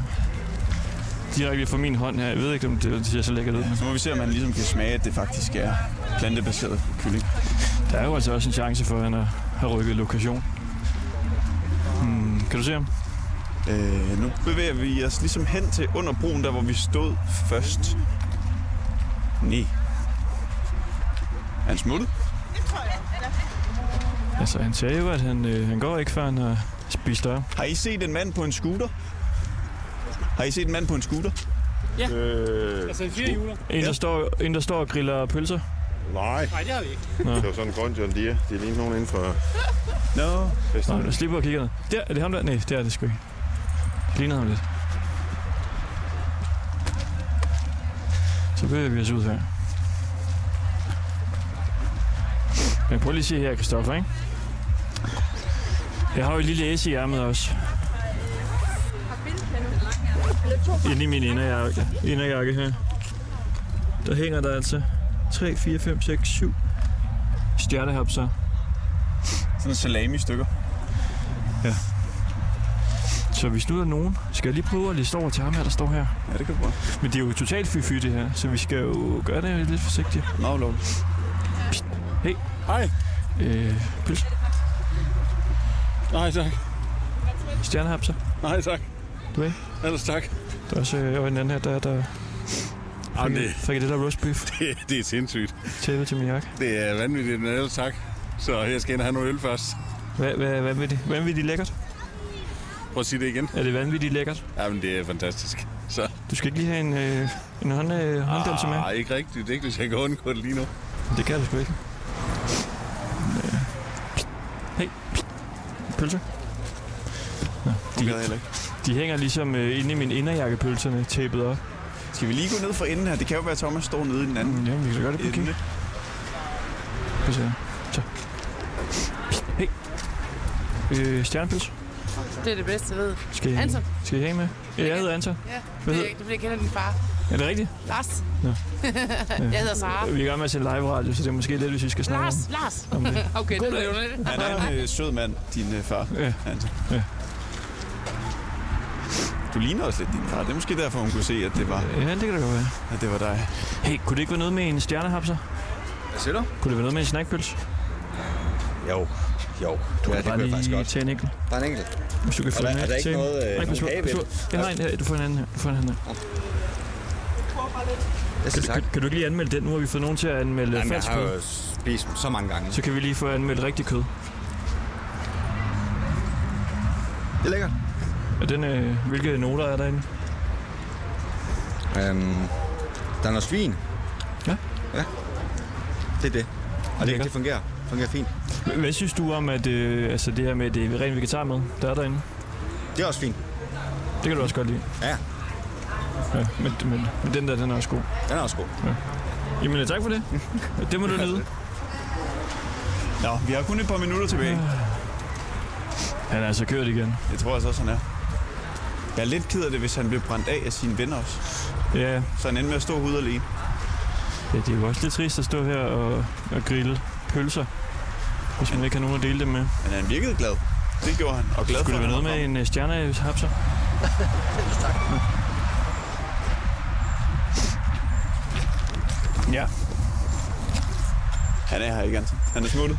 S2: Direkte fra min hånd her. Jeg ved ikke, om det, det ser så lækkert ud.
S1: Så må vi se, om han ligesom kan smage, at det faktisk er plantebaseret kylling.
S2: Der er jo altså også en chance for, at han har- har rykket lokation. Hmm, kan du se ham?
S1: Øh, nu bevæger vi os ligesom hen til under broen, der hvor vi stod først. Nej. Er han smuttet?
S2: Altså, han sagde jo, at han, øh, han går ikke, før han har spist op.
S1: Har I set en mand på en scooter? Har I set en mand på en scooter?
S6: Ja. Øh, altså i fire hjuler.
S2: En, der står, en, der står og griller pølser.
S16: Nej.
S6: Nej, det har vi ikke.
S2: Nå.
S16: Det var sådan en grøn John Deere. Det er lige nogen inden for...
S1: Nå.
S2: Nå, nu slipper og kigger ned. Der, er det ham der? Nej, det er det sgu ikke. Det ligner ham lidt. Så bevæger vi os ud her. Men prøv lige at se her, Kristoffer, ikke? Jeg har jo et lille æs i ærmet også. Inde i min inderjakke, inderjakke her. Der hænger der altså 3, 4, 5, 6, 7 stjernehapser.
S1: Sådan salami-stykker. Ja.
S2: Så hvis nu er nogen, skal jeg lige prøve at liste over til ham her, der står her.
S1: Ja, det kan du prøve.
S2: Men det er jo totalt fy det her, så vi skal jo gøre det lidt forsigtigt.
S1: Nå, lov.
S2: Psst. Hey.
S17: Hej.
S2: Øh, pølse.
S17: Nej, tak.
S2: Stjernehapser.
S17: Nej, tak.
S2: Du ikke?
S17: Ellers tak.
S2: Der er også øh, og en anden her, der er der...
S17: Jamen, det-
S2: Frikadelle og roast beef.
S17: Det, det er sindssygt.
S2: Tæppe til min jakke.
S17: Det er vanvittigt, men ellers tak. Så jeg skal ind og have noget øl først.
S2: Hvad, hvad, hvad, vil det? Vanvittigt lækkert.
S17: Prøv at sige det igen.
S2: Er det vanvittigt lækkert?
S17: Jamen, det er fantastisk. Så.
S2: Du skal ikke lige have en, øh, en hånd, øh, hånddanse med?
S17: Ah, ikke rigtigt. Ikke, hvis jeg kan undgå det lige nu.
S2: Det kan du sgu ikke. Øh. Hey. Pølse. Nå,
S1: de, heller ikke.
S2: de hænger ligesom øh, inde i min inderjakke, pølserne, tæppet op.
S1: Skal vi lige gå ned for enden her? Det kan jo være, at Thomas står nede i den anden.
S2: Ja, Mm, vi kan da gøre det på kig. Prøv at se her. Så. Psst. Hey. Øh, stjernepølse.
S18: Det er det bedste, jeg ved.
S2: Skal I,
S18: Anton.
S2: Skal I have en med? Ja, jeg hedder Anton.
S18: Ja,
S2: Hvad
S18: det er
S2: hed-
S18: ikke, det er, fordi jeg kender din far.
S2: Er det rigtigt?
S18: Lars.
S2: Nå.
S18: jeg hedder Sara.
S2: Vi er i gang med at sende live radio, så det er måske lidt, hvis vi skal snakke om.
S18: Lars, Lars.
S2: Om det.
S18: okay, det blev det.
S1: Han er en øh, sød mand, din øh, far. Ja.
S2: ja.
S1: Du ligner også lidt din far. Det er måske derfor, hun kunne se, at det var...
S2: Ja, det kan det godt være.
S1: At det var dig.
S2: Hey, kunne det ikke være noget med en stjernehapser?
S7: Hvad siger du?
S2: Kunne det være noget med en snackpølse?
S7: Jo, jo.
S2: Du
S7: ja,
S2: kan
S7: det
S2: bare
S7: kunne jeg faktisk
S2: lige
S7: godt.
S2: tage en enkelt.
S7: Der er en enkelt.
S2: Hvis du kan få
S7: Og der-
S2: en
S7: er der ikke
S2: til.
S7: noget, øh,
S2: Nej,
S7: nogen
S2: pas på,
S7: kage
S2: pas
S7: ved
S2: på. Jeg har en her. Du får en anden her. Du får en anden her.
S7: Jeg
S2: Kan, du- kan, kan du ikke lige anmelde den? Nu har vi fået nogen til at anmelde
S7: Jamen, jeg
S2: falsk
S7: har
S2: kød.
S7: jo spist dem så mange gange.
S2: Så kan vi lige få anmeldt rigtig kød.
S7: Det er lækkert.
S2: Og den, øh, hvilke noter er derinde?
S7: Øhm, der er noget svin.
S2: Ja.
S7: Ja. Det er det. Og det, det fungerer. fungerer fint.
S2: H- Hvad synes du om at, øh, altså det her med det rent vegetarmad, der er derinde?
S7: Det er også fint.
S2: Det kan du også godt lide.
S7: Ja.
S2: ja men, men, men den der, den er også god.
S7: Den er også god.
S2: Ja. Jamen tak for det. Det må du nyde.
S1: Nå, vi har kun et par minutter tilbage.
S2: Han er altså kørt igen.
S1: Det tror jeg så også, han er. Jeg er lidt ked af det, hvis han bliver brændt af af sine venner også.
S2: Ja.
S1: Så han endte med at stå ude alene.
S2: Ja, det er jo også lidt trist at stå her og, og grille pølser, hvis man ikke har nogen at dele det med.
S1: Men han virkede glad. Det gjorde han. Og glad
S2: Skulle
S1: for,
S2: det
S1: at
S2: være
S1: han
S2: noget
S1: var
S2: med en øh, stjernehapser? Ja.
S1: Han er her ikke, Anton. Han er smuttet.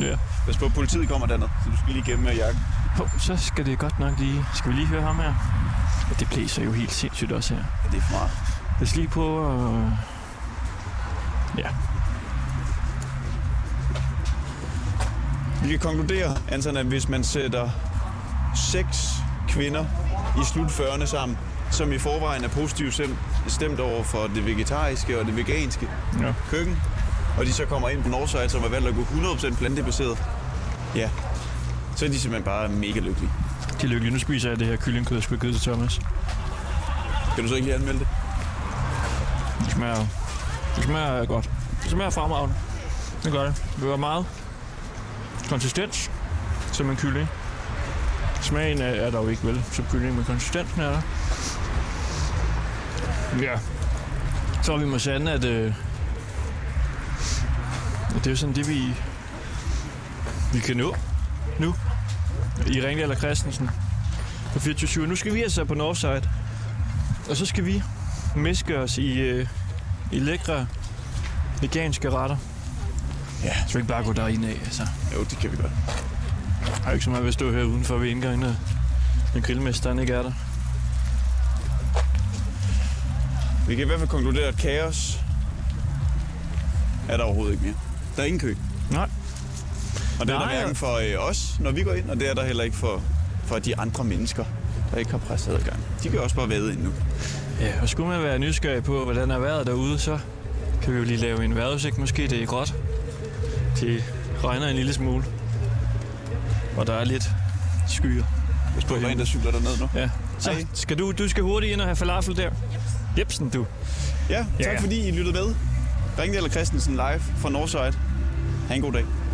S2: Ja.
S1: Pas på, politiet kommer dernede, så du skal lige gemme med jakken.
S2: Hov, så skal det godt nok lige... Skal vi lige høre ham her? Ja, det blæser jo helt sindssygt også her.
S1: Ja, det er for meget.
S2: Lad os lige prøve at... Ja.
S1: Vi kan konkludere, Anton, at hvis man sætter seks kvinder i slut 40'erne sammen, som i forvejen er positivt sem- stemt over for det vegetariske og det veganske
S2: ja.
S1: køkken, og de så kommer ind på Northside, som har valgt at gå 100% plantebaseret, ja, så er de simpelthen bare mega lykkelige.
S2: De er lykkelige. Nu spiser jeg det her kyllingkød, jeg skulle have givet til Thomas.
S1: Kan du så ikke lige anmelde det?
S2: Det smager, det smager godt. Det smager fremragende. Det gør det. Det var meget konsistens, som en kylling. Smagen er, er der jo ikke vel som kylling, men konsistensen er der. Ja. Så vi må sande, at, øh, at det er sådan det, vi, vi kan nå nu i Ringdal og Christensen på 24 Nu skal vi altså på Northside, og så skal vi miske os i, øh, i lækre veganske retter. Ja. Så vi ikke bare gå derinde af, altså.
S1: Jo, det kan vi godt.
S2: Der er jo ikke så meget ved at stå her udenfor ved indgangen, når, når grillmesteren ikke er der.
S1: Vi kan i hvert fald konkludere, at kaos er der overhovedet ikke mere. Der er ingen kø.
S2: Nej.
S1: Og det er der
S2: Nej,
S1: hverken for øh, os, når vi går ind, og det er der heller ikke for, for de andre mennesker, der ikke har presseadgang. De kan også bare vade ind nu.
S2: Ja, og skulle man være nysgerrig på, hvordan er vejret derude, så kan vi jo lige lave en vejrudsigt. Måske det er gråt. Det regner en lille smule. Og der er lidt skyer.
S1: Hvis du er en, der cykler derned nu.
S2: Ja. Så skal du, du skal hurtigt ind og have falafel der. Jepsen, du.
S1: Ja, tak
S2: Ja.
S1: fordi I lyttede med. Ringdal og Christensen live fra Northside. Ha' en god dag.